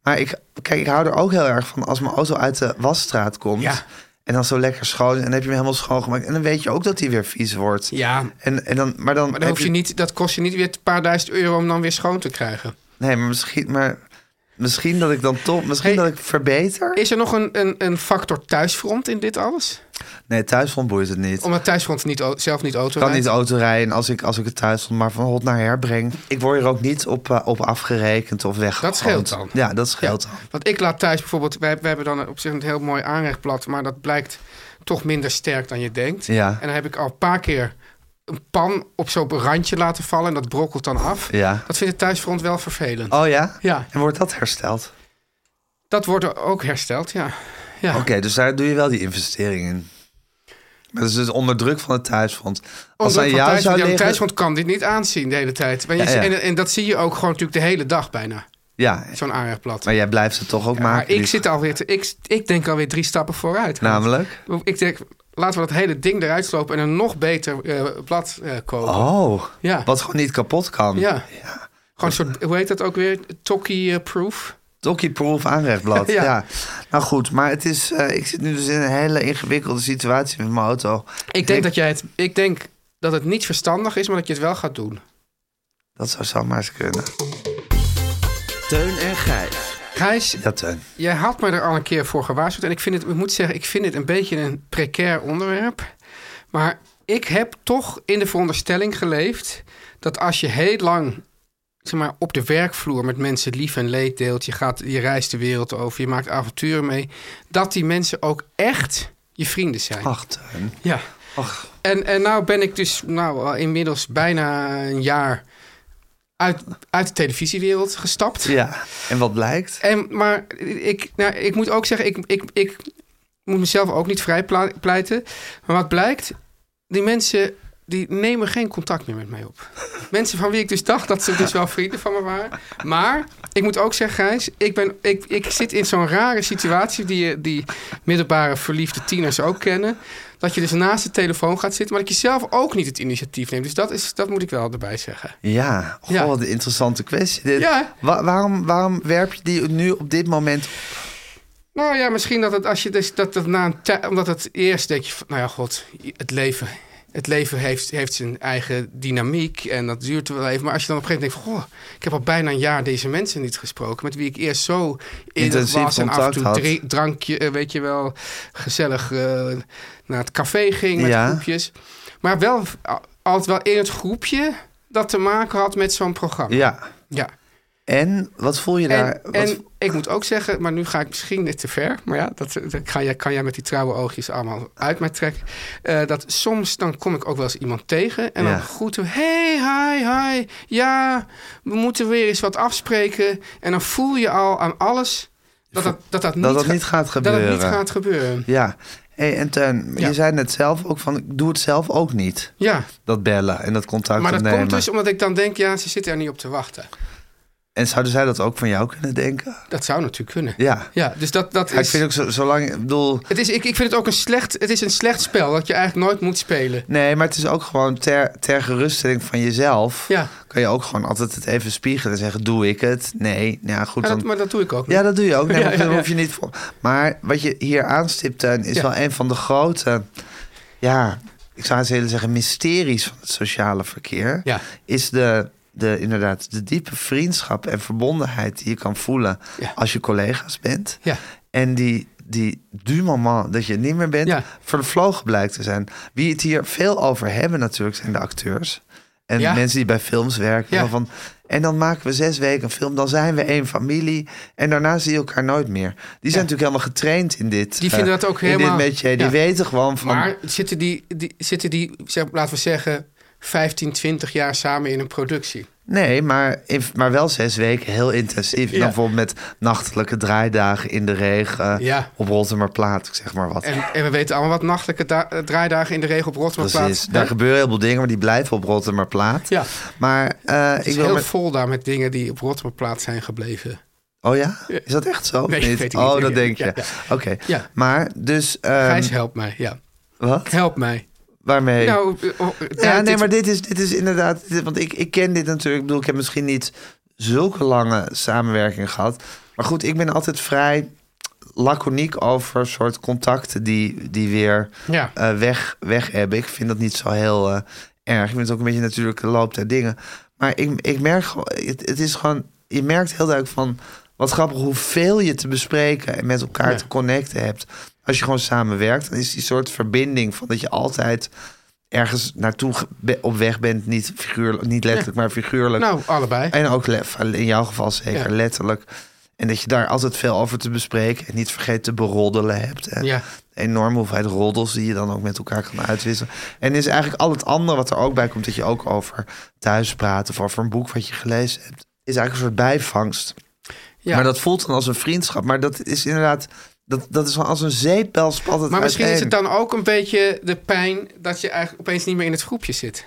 A: Maar ik, kijk, ik hou er ook heel erg van als mijn auto uit de wasstraat komt.
B: Ja.
A: En dan zo lekker schoon. En dan heb je hem helemaal schoongemaakt. En dan weet je ook dat hij weer vies wordt.
B: Ja,
A: En, en dan, maar dan,
B: maar dan
A: heb
B: hoef je niet, dat kost je niet weer een paar duizend euro om dan weer schoon te krijgen.
A: Nee, maar misschien, maar misschien dat ik dan toch... Misschien
B: Hey.
A: dat ik verbeter.
B: Is er nog een, een, een factor thuisfront in dit alles?
A: Nee, thuis vond boeit het niet.
B: Omdat thuisfront niet, au- zelf niet auto
A: Ik kan
B: rijdt.
A: niet autorijden als ik, als ik het thuis vond, maar van hot naar her breng. Ik word er ook niet op, eh, op afgerekend of weggegooid.
B: scheelt dan.
A: Ja, dat
B: Ja,
A: scheelt dan.
B: Want ik laat thuis bijvoorbeeld, wij, wij hebben dan op zich een heel mooi aanrechtblad, maar dat blijkt toch minder sterk dan je denkt.
A: Ja.
B: En dan heb ik al een paar keer een pan op zo'n randje laten vallen en dat brokkelt dan af.
A: Ja.
B: Dat vindt het thuisfront wel vervelend.
A: Oh ja?
B: Ja.
A: En wordt dat hersteld?
B: Dat wordt er ook hersteld, ja. ja.
A: Oké, dus daar doe je wel die investering in. Maar dat is dus onder druk van het thuisfront. Als
B: Omdat
A: aan
B: van
A: jou
B: thuis,
A: zou
B: ja,
A: liggen...
B: thuisfront kan dit niet aanzien de hele tijd. Maar je-
A: Ja, ja.
B: En, en dat zie je ook gewoon natuurlijk de hele dag bijna,
A: Ja,
B: zo'n aanrechtblad.
A: maar jij blijft het Nou, toch ook
B: Ja, maar
A: maken?
B: ik,
A: die-
B: zit alweer te, ik, ik denk alweer drie stappen vooruit.
A: Namelijk?
B: Ik denk, laten we dat hele ding eruit slopen en een nog beter eh, blad eh, kopen.
A: Oh,
B: Ja.
A: wat gewoon niet kapot kan.
B: Ja. Gewoon een soort, hoe heet dat ook weer? Tokkie-proof?
A: Tokkie Proof aanrechtblad.
B: <laughs> Ja.
A: ja. Nou goed, maar het is, eh, ik zit nu dus in een hele ingewikkelde situatie met mijn auto.
B: ik denk dat jij het... Ik denk dat het niet verstandig is, maar dat je het wel gaat doen.
A: Dat zou zomaar eens kunnen.
C: Teun en Gijs.
B: Gijs,
A: Ja, Teun.
B: jij had me er al een keer voor gewaarschuwd. En ik, vind het, ik moet zeggen, ik vind het een beetje een precair onderwerp. Maar ik heb toch in de veronderstelling geleefd... dat als je heel lang zeg maar, op de werkvloer met mensen lief en leed deelt... Je, gaat, je reist de wereld over, je maakt avonturen mee... dat die mensen ook echt je vrienden zijn.
A: Ach, Teun.
B: Ja.
A: Ach.
B: En, en nou ben ik dus nou, al inmiddels bijna een jaar uit, uit de televisiewereld gestapt.
A: Ja, en wat blijkt?
B: En, maar ik, nou, ik moet ook zeggen, ik, ik, ik moet mezelf ook niet vrijpleiten. Maar wat blijkt, die mensen die nemen geen contact meer met mij op. mensen van wie ik dus dacht dat ze dus wel vrienden van me waren. Maar ik moet ook zeggen, Gijs, ik, ben, ik, ik zit in zo'n rare situatie... die je- die middelbare verliefde tieners ook kennen. Dat je dus naast de telefoon gaat zitten... maar dat je zelf ook niet het initiatief neemt. Dus dat, is, dat moet ik wel erbij zeggen.
A: Ja, goh,
B: Ja.
A: wat een interessante kwestie. Dit.
B: Ja.
A: Wa- waarom, waarom werp je die nu op dit moment op?
B: Nou ja, misschien dat het als je dus, dat, dat na een tijd, omdat het eerst denk je, van, nou ja, god, het leven, het leven heeft, heeft zijn eigen dynamiek en dat duurt wel even. Maar als je dan op een gegeven moment denkt van, goh, ik heb al bijna een jaar deze mensen niet gesproken, met wie ik eerst zo innig
A: Intensief
B: was en af en
A: contact
B: toe
A: had.
B: dri- drankje, eh, weet je wel, gezellig eh, naar het café ging met
A: Ja.
B: groepjes. Maar wel al- altijd wel in het groepje dat te maken had met zo'n programma.
A: Ja.
B: ja.
A: En wat voel je daar?
B: En,
A: wat-
B: en ik moet ook zeggen, maar nu ga ik misschien net te ver. Maar ja, dat, dat ga jij, kan jij met die trouwe oogjes allemaal uit mij trekken. Eh, dat soms dan kom ik ook wel eens iemand tegen. En
A: Ja.
B: dan groeten we. Hey, hi, hi. Ja, we moeten weer eens wat afspreken. En dan voel je al aan alles dat dat, dat, dat, niet,
A: dat
B: ga-
A: niet gaat
B: Dat het
A: gebeuren.
B: niet gaat gebeuren.
A: Ja. Hey, en Teun,
B: Ja.
A: je zei net zelf ook van, ik doe het zelf ook niet.
B: Ja,
A: Dat bellen en dat contact
B: maar dat dus
A: opnemen.
B: komt dus omdat ik dan denk, ja, ze zitten er niet op te wachten.
A: En zouden zij dat ook van jou kunnen denken?
B: Dat zou natuurlijk kunnen.
A: Ja.
B: Ja, dus dat, dat
A: Ja, ik
B: is...
A: vind ook zo, zolang, ik bedoel,
B: Het is, ik, ik vind het ook een slecht, het is een slecht spel dat je eigenlijk nooit moet spelen.
A: nee, maar het is ook gewoon ter, ter geruststelling van jezelf.
B: Ja.
A: Kan je ook gewoon altijd het even spiegelen en zeggen, doe ik het? Nee, nou ja, goed,
B: Ja,
A: dan,
B: dat, maar dat doe ik ook.
A: Ja, dat doe je ook. Nee,
B: <laughs> Ja,
A: maar
B: ja,
A: daar
B: ja.
A: hoef je niet voor. Maar wat je hier aanstipt, Teun, is
B: Ja.
A: wel een van de grote... Ja, ik zou eens willen zeggen mysteries van het sociale verkeer.
B: Ja.
A: Is de, de, inderdaad de diepe vriendschap en verbondenheid die je kan voelen...
B: Ja.
A: als je collega's bent.
B: Ja.
A: En die... Die du moment dat je het niet meer bent,
B: Ja.
A: vervlogen blijkt te zijn. Wie het hier veel over hebben, natuurlijk, zijn de acteurs. En
B: Ja.
A: mensen die bij films werken.
B: Ja. Mm.
A: Zo Van, en dan maken we zes weken een film. Dan zijn we één familie. En daarna zie je elkaar nooit meer. Die zijn natuurlijk helemaal getraind in dit.
B: Die
A: eh,
B: vinden dat ook
A: in
B: helemaal-
A: dit métier. Die
B: ja.
A: weten gewoon van...
B: Maar zitten die, die, zitten die zeg, laten we zeggen, 15, 20 jaar samen in een productie?
A: Nee, maar, in- maar wel zes weken heel intensief. En
B: Ja.
A: dan bijvoorbeeld met nachtelijke draaidagen in de regen.
B: Ja.
A: Op Rotterdamplaat, ik zeg maar wat.
B: En, en we weten allemaal wat nachtelijke da- eh, draaidagen in de regel op Rotterdam
A: Precies.
B: plaats-
A: Daar
B: hè?
A: gebeuren heel veel dingen, maar die blijven op Rotterdamplaat.
B: Ja.
A: Maar eh,
B: Het
A: ik
B: is
A: wil...
B: heel
A: met-
B: vol daar met dingen die op Rotterdam plaats zijn gebleven.
A: Oh ja? Is dat echt zo? of
B: Nee,
A: niet?
B: weet ik niet.
A: oh,
B: Ja,
A: dat denk je.
B: ja, ja.
A: Oké.
B: Ja.
A: Maar dus... ehm,
B: Gijs, help mij. Ja.
A: wat?
B: Help mij.
A: Waarmee?
B: Nou, eh, oh,
A: Ja, nee,
B: dit-
A: maar dit is, dit is inderdaad... dit- want ik, ik ken dit natuurlijk. Ik bedoel, ik heb misschien niet zulke lange samenwerking gehad. Maar goed, ik ben altijd vrij laconiek over soort contacten die, die weer
B: Ja.
A: eh, weg, weg hebben. Ik vind dat niet zo heel eh, erg. Ik vind het ook een beetje natuurlijk de loop der dingen. Maar ik, ik merk gewoon... Het, het is gewoon... Je merkt heel duidelijk van... Wat grappig hoeveel je te bespreken en met elkaar
B: Ja.
A: te connecten hebt. Als je gewoon samenwerkt, dan is die soort verbinding van dat je altijd ergens naartoe ge- be- op weg bent. Niet, figuurlijk, niet letterlijk, maar figuurlijk.
B: Nou, allebei.
A: En ook le- in jouw geval zeker
B: Ja.
A: letterlijk. En dat je daar altijd veel over te bespreken en niet vergeet te beroddelen hebt. En
B: Ja.
A: enorme hoeveelheid roddels die je dan ook met elkaar kan uitwisselen. En is eigenlijk al het andere wat er ook bij komt, dat je ook over thuis praat of over een boek wat je gelezen hebt, is eigenlijk een soort bijvangst.
B: Ja.
A: Maar dat voelt dan als een vriendschap. Maar dat is inderdaad, dat, dat is wel als een zeepbel spat het
B: Maar misschien is het
A: uiteen.
B: dan ook een beetje de pijn dat je eigenlijk opeens niet meer in het groepje zit.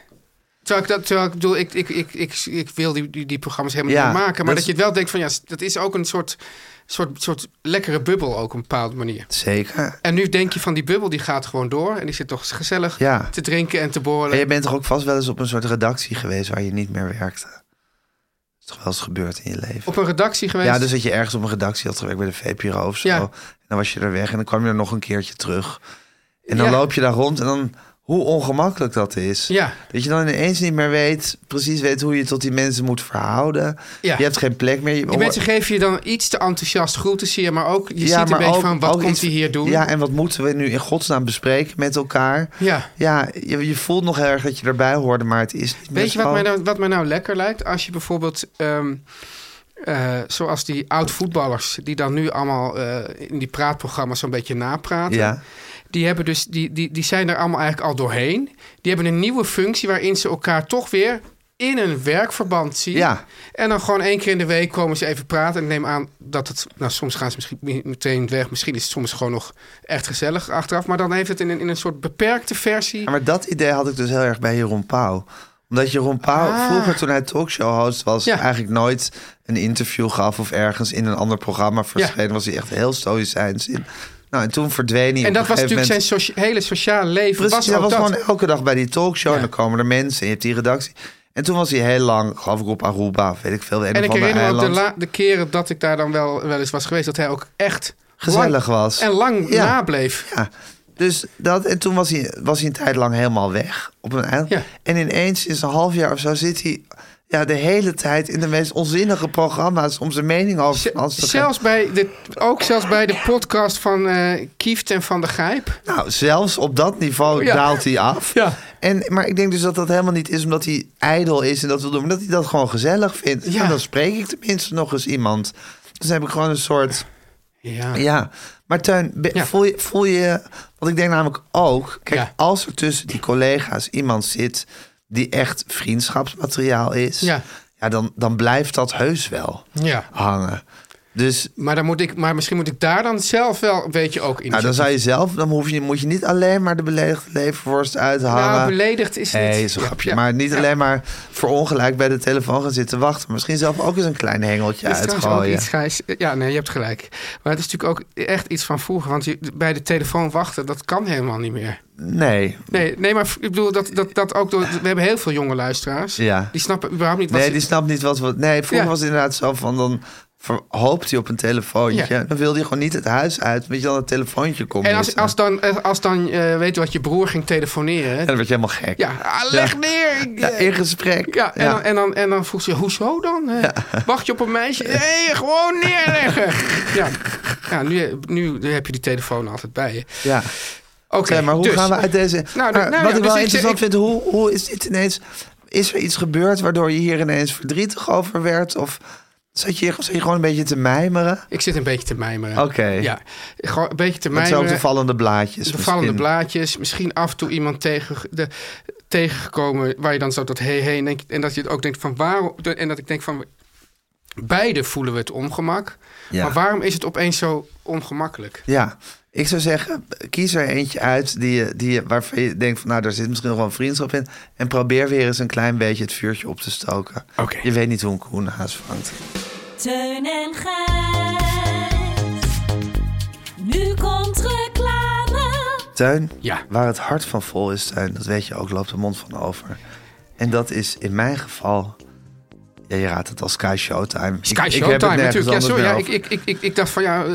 B: Terwijl ik, dat, terwijl ik bedoel, ik, ik, ik, ik, ik wil die, die, die programma's helemaal
A: Ja,
B: niet meer maken. Maar dat,
A: dat is-
B: je het wel denkt van ja, dat is ook een soort, soort, soort lekkere bubbel ook op een bepaalde manier.
A: Zeker.
B: En nu denk je van die bubbel die gaat gewoon door. En die zit toch gezellig
A: Ja.
B: te drinken en te borrelen.
A: En je bent toch ook vast wel eens op een soort redactie geweest waar je niet meer werkte? is toch wel eens gebeurd in je leven?
B: Op een redactie geweest.
A: Ja, dus dat je ergens op een redactie had gewerkt bij de VPRO of zo.
B: Ja.
A: En dan was je er weg en dan kwam je er nog een keertje terug. En dan
B: Ja.
A: loop je daar rond en dan hoe ongemakkelijk dat is.
B: Ja.
A: Dat je dan ineens niet meer weet, precies weet hoe je tot die mensen moet verhouden.
B: Ja.
A: Je hebt geen plek meer. Je- Oh,
B: Die mensen geven je dan iets te enthousiast groeten, zie je. Maar ook, je ziet een
A: maar
B: beetje
A: ook-
B: van, wat
A: ook
B: komt
A: iets-
B: hij hier doen?
A: Ja, en wat moeten we nu in godsnaam bespreken met elkaar?
B: Ja.
A: Ja, je, je voelt nog heel erg dat je erbij hoorde, maar het is niet meer
B: Weet je wat
A: zo.
B: mij, nou, wat mij nou lekker lijkt? Als je bijvoorbeeld, ehm, eh, zoals die oud-voetballers... die dan nu allemaal eh, in die praatprogramma's zo'n beetje napraten...
A: Ja,
B: Die, hebben dus, die, die, die zijn er allemaal eigenlijk al doorheen. Die hebben een nieuwe functie waarin ze elkaar toch weer in een werkverband zien.
A: Ja.
B: En dan gewoon één keer in de week komen ze even praten. En ik neem aan dat het... Nou, soms gaan ze misschien me- meteen weg. Misschien is het soms gewoon nog echt gezellig achteraf. Maar dan heeft het in een, in een soort beperkte versie...
A: Ja, maar dat idee had ik dus heel erg bij Jeroen Pauw. Omdat Jeroen Pauw
B: Ah.
A: vroeger toen hij talkshow-host was...
B: Ja.
A: eigenlijk nooit een interview gaf of ergens in een ander programma verscheen. Was hij echt heel stoïcijns in. Nou, en toen verdween hij
B: En
A: op
B: dat
A: een
B: was
A: gegeven
B: natuurlijk
A: moment...
B: zijn socia- hele sociale leven.
A: Precies,
B: was
A: hij
B: ook
A: was
B: dat.
A: gewoon elke dag bij die talkshow.
B: Ja.
A: En dan komen er mensen en je hebt die redactie. En toen was hij heel lang, geloof ik, op Aruba. Weet ik veel, een
B: en
A: of
B: ik
A: ander
B: herinner me ook de,
A: eiland.
B: la- de keren dat ik daar dan wel, wel eens was geweest... dat hij ook echt
A: Gezellig
B: lang-
A: was.
B: en lang
A: Ja.
B: nableef.
A: Ja, dus dat. En toen was hij, was hij een tijd lang helemaal weg op een eiland.
B: Ja.
A: En ineens, sinds een half jaar of zo, zit hij ja, de hele tijd in de meest onzinnige programma's om zijn mening over
B: Z-
A: van alles te geven.
B: Zelfs bij de, ook zelfs bij de podcast van eh Kieft en Van der Gijp.
A: Nou, zelfs op dat niveau
B: Ja.
A: daalt hij af.
B: Ja.
A: En, maar ik denk dus dat dat helemaal niet is omdat hij ijdel is en dat wil doen. Maar dat hij dat gewoon gezellig vindt.
B: Ja.
A: En dan spreek ik tenminste nog eens iemand. Dus dan heb ik gewoon een soort...
B: Ja.
A: Ja, maar Teun, be-
B: Ah. Ja.
A: voel, je, voel je... Want ik denk namelijk ook... Kijk,
B: Ja.
A: als er tussen die collega's iemand zit... die echt vriendschapsmateriaal is...
B: Ja.
A: dan, dan blijft dat heus wel
B: Ja.
A: hangen. Dus
B: Maar, dan moet ik, maar misschien moet ik daar dan zelf wel een beetje ook in.
A: nou, dan zou je zelf, dan hoef je, moet je niet alleen maar de beledigde leverworst uithalen.
B: Nou, beledigd is het.
A: Nee,
B: niet.
A: is een
B: Ja,
A: grapje.
B: ja.
A: Maar niet
B: Ja.
A: alleen maar verongelijk bij de telefoon gaan zitten wachten. Misschien zelf ook eens een klein hengeltje
B: Dat is trouwens ook
A: uitgooien.
B: iets, Gijs. Ja, nee, je hebt gelijk. Maar het is natuurlijk ook echt iets van vroeger. Want je, bij de telefoon wachten, dat kan helemaal niet meer.
A: Nee.
B: Nee, nee maar ik bedoel, dat, dat, dat ook door, we hebben heel veel jonge luisteraars.
A: Ja.
B: Die snappen überhaupt niet wat
A: Nee,
B: ze-
A: die snapt niet wat we... Nee, vroeger
B: Ja.
A: was het inderdaad zo van... dan ver- hoopt hij op een telefoontje.
B: Ja.
A: Dan wilde hij gewoon niet het huis uit... omdat je dan het telefoontje kon
B: En als,
A: missen.
B: als dan, eh, als dan eh, weet je wat, je broer ging telefoneren.
A: En dan werd je helemaal gek.
B: Ja, ah, leg
A: Ja.
B: neer. ik,
A: Ja,
B: eh,
A: in gesprek.
B: Ja, en, Dan, en, dan, en dan vroeg ze, hoezo dan? Eh, Wacht je op een
A: <laughs>
B: meisje? Nee, gewoon neerleggen. ja, ja nu, nu heb je die telefoon altijd bij je.
A: Ja.
B: Oké,
A: Oké, maar hoe
B: dus-
A: gaan we uit deze...
B: nou,
A: maar
B: nou
A: wat
B: ja,
A: ik
B: dus
A: wel
B: ik-
A: interessant
B: ik-
A: vind, hoe, hoe is dit ineens... Is er iets gebeurd waardoor je hier ineens verdrietig over werd? Of zat je, zat je gewoon een beetje te mijmeren?
B: Ik zit een beetje te mijmeren.
A: Oké.
B: Ja, gewoon een beetje te
A: Met zo'n
B: mijmeren.
A: vallende blaadjes
B: De
A: misschien.
B: vallende blaadjes. Misschien af en toe iemand tegen, de, tegengekomen waar je dan zo dat hey hey denkt. En dat je ook denkt van waarom... En dat ik denk van... Beide voelen we het ongemak.
A: Ja.
B: Maar waarom is het opeens zo ongemakkelijk?
A: Ja, ik zou zeggen, kies er eentje uit die, je- die, je- waarvan je denkt van nou, daar zit misschien nog wel een vriendschap in. En probeer weer eens een klein beetje het vuurtje op te stoken.
B: Oké.
A: Je weet niet hoe een koen haas vangt.
E: Teun en Gijs. Nu komt reclame.
A: Tuin,
B: Ja.
A: waar het hart van vol is, Tuin, dat weet je ook, loopt de mond van over. En dat is in mijn geval, ja, je raadt het al, Sky Showtime. Ik-
B: Sky
A: ik, heb het
B: Showtime
A: nergens
B: natuurlijk. Ja,
A: anders
B: sorry,
A: meer
B: ja,
A: over.
B: ik, ik, ik, ik, ik dacht van ja... eh,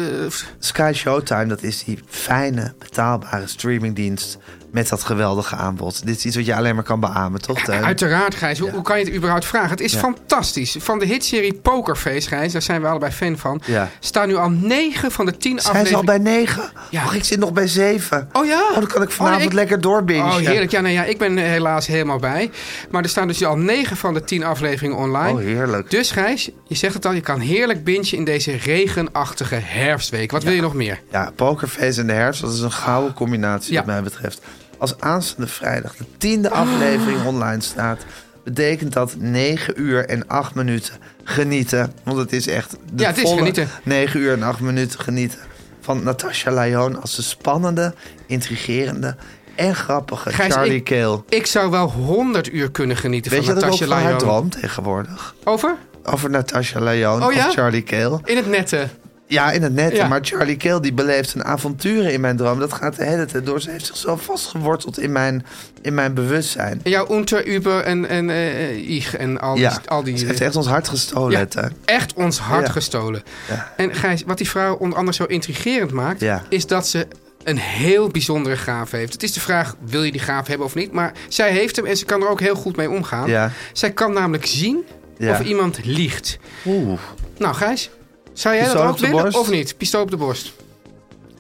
A: Sky Showtime, dat is die fijne, betaalbare streamingdienst met dat geweldige aanbod. Dit is iets wat je alleen maar kan beamen, toch? Teun?
B: Uiteraard, Gijs. Hoe, hoe kan je het überhaupt vragen? Het is fantastisch. Van de hitserie Pokerface, Gijs, daar zijn we allebei fan van...
A: Ja.
B: staan nu al negen van de tien
A: Zijn ze al
B: afleveringen...
A: bij negen?
B: Ja.
A: Och, ik zit nog bij zeven.
B: Oh ja?
A: Oh, dan kan ik vanavond
B: Oh, ik-
A: lekker doorbingen.
B: Oh, heerlijk. Ja, nou ja, ik ben er helaas helemaal bij. Maar er staan dus al negen van de tien afleveringen online.
A: Oh, heerlijk.
B: Dus Gijs, je zegt het al, je kan heerlijk bingen in deze regenachtige herfstweek. Wat wil je nog meer?
A: Ja, Pokerface in de herfst, dat is een gouden combinatie
B: Ja.
A: wat mij betreft. Als aanstaande vrijdag de tiende aflevering
B: Ah.
A: online staat... betekent dat 9 uur en 8 minuten genieten. Want het is echt de
B: Ja, het is
A: volle
B: genieten.
A: 9 uur en 8 minuten genieten. Van Natasha Lyon als de spannende, intrigerende en grappige
B: Gijs,
A: Charlie
B: ik-
A: Kale.
B: Ik zou wel 100 uur kunnen genieten
A: Weet je
B: van
A: dat ik ook
B: Natasja
A: van haar
B: Lyon.
A: droom tegenwoordig?
B: Over?
A: Over Natasha Lyon
B: Oh ja?
A: of Charlie Kale.
B: In het nette.
A: Ja, in het net.
B: Ja.
A: Maar Charlie Kale die beleeft een avonturen in mijn droom. Dat gaat de hele tijd door. Ze heeft zich zo vastgeworteld in mijn, in mijn bewustzijn.
B: En jouw Unter, Uber en, en eh, eh, Ich en al die...
A: ja,
B: al die
A: ze heeft echt ons hart gestolen.
B: Ja,
A: het, hè.
B: echt ons hart
A: Ja.
B: gestolen.
A: Ja.
B: En Gijs, wat die vrouw onder andere zo intrigerend maakt,
A: Ja.
B: is dat ze een heel bijzondere gaaf heeft. Het is de vraag, wil je die gaaf hebben of niet? Maar zij heeft hem en ze kan er ook heel goed mee omgaan.
A: Ja.
B: Zij kan namelijk zien
A: Ja.
B: of iemand liegt.
A: Oeh.
B: Nou Gijs, zou jij
A: Pistool
B: dat
A: op
B: ook
A: de
B: willen
A: borst?
B: of niet? Pistool op de borst.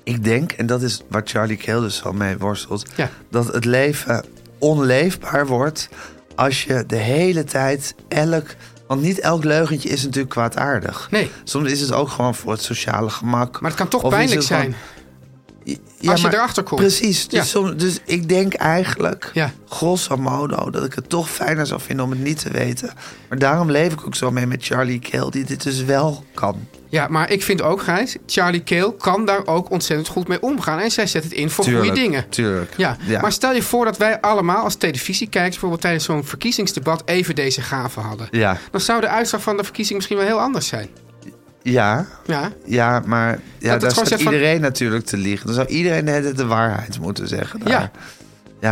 A: Ik denk, en dat is waar Charlie Kale dus al mee worstelt...
B: Ja.
A: dat het leven onleefbaar wordt als je de hele tijd elk... Want niet elk leugentje is natuurlijk kwaadaardig.
B: Nee.
A: Soms is het ook gewoon voor het sociale gemak.
B: Maar het kan toch
A: Of is
B: pijnlijk
A: het gewoon-
B: zijn.
A: Ja,
B: Als je
A: maar-
B: erachter komt.
A: Precies. Dus,
B: Ja.
A: soms- dus ik denk eigenlijk,
B: Ja.
A: grosso modo, dat ik het toch fijner zou vinden om het niet te weten. Maar daarom leef ik ook zo mee met Charlie Kale, die dit dus wel kan.
B: Ja, maar ik vind ook, Gijs, Charlie Kale kan daar ook ontzettend goed mee omgaan. En zij zet het in voor goede dingen.
A: Tuurlijk.
B: Ja, maar stel je voor dat wij allemaal als televisiekijkers... bijvoorbeeld tijdens zo'n verkiezingsdebat even deze gaven hadden.
A: ja.
B: Dan zou de uitslag van de verkiezing misschien wel heel anders zijn.
A: ja,
B: Ja,
A: ja, maar ja,
B: het
A: daar
B: gewoon
A: staat
B: zegt van-
A: iedereen natuurlijk te liegen. Dan zou iedereen de, hele tijd de waarheid moeten zeggen. daar.
B: Ja.
A: ja.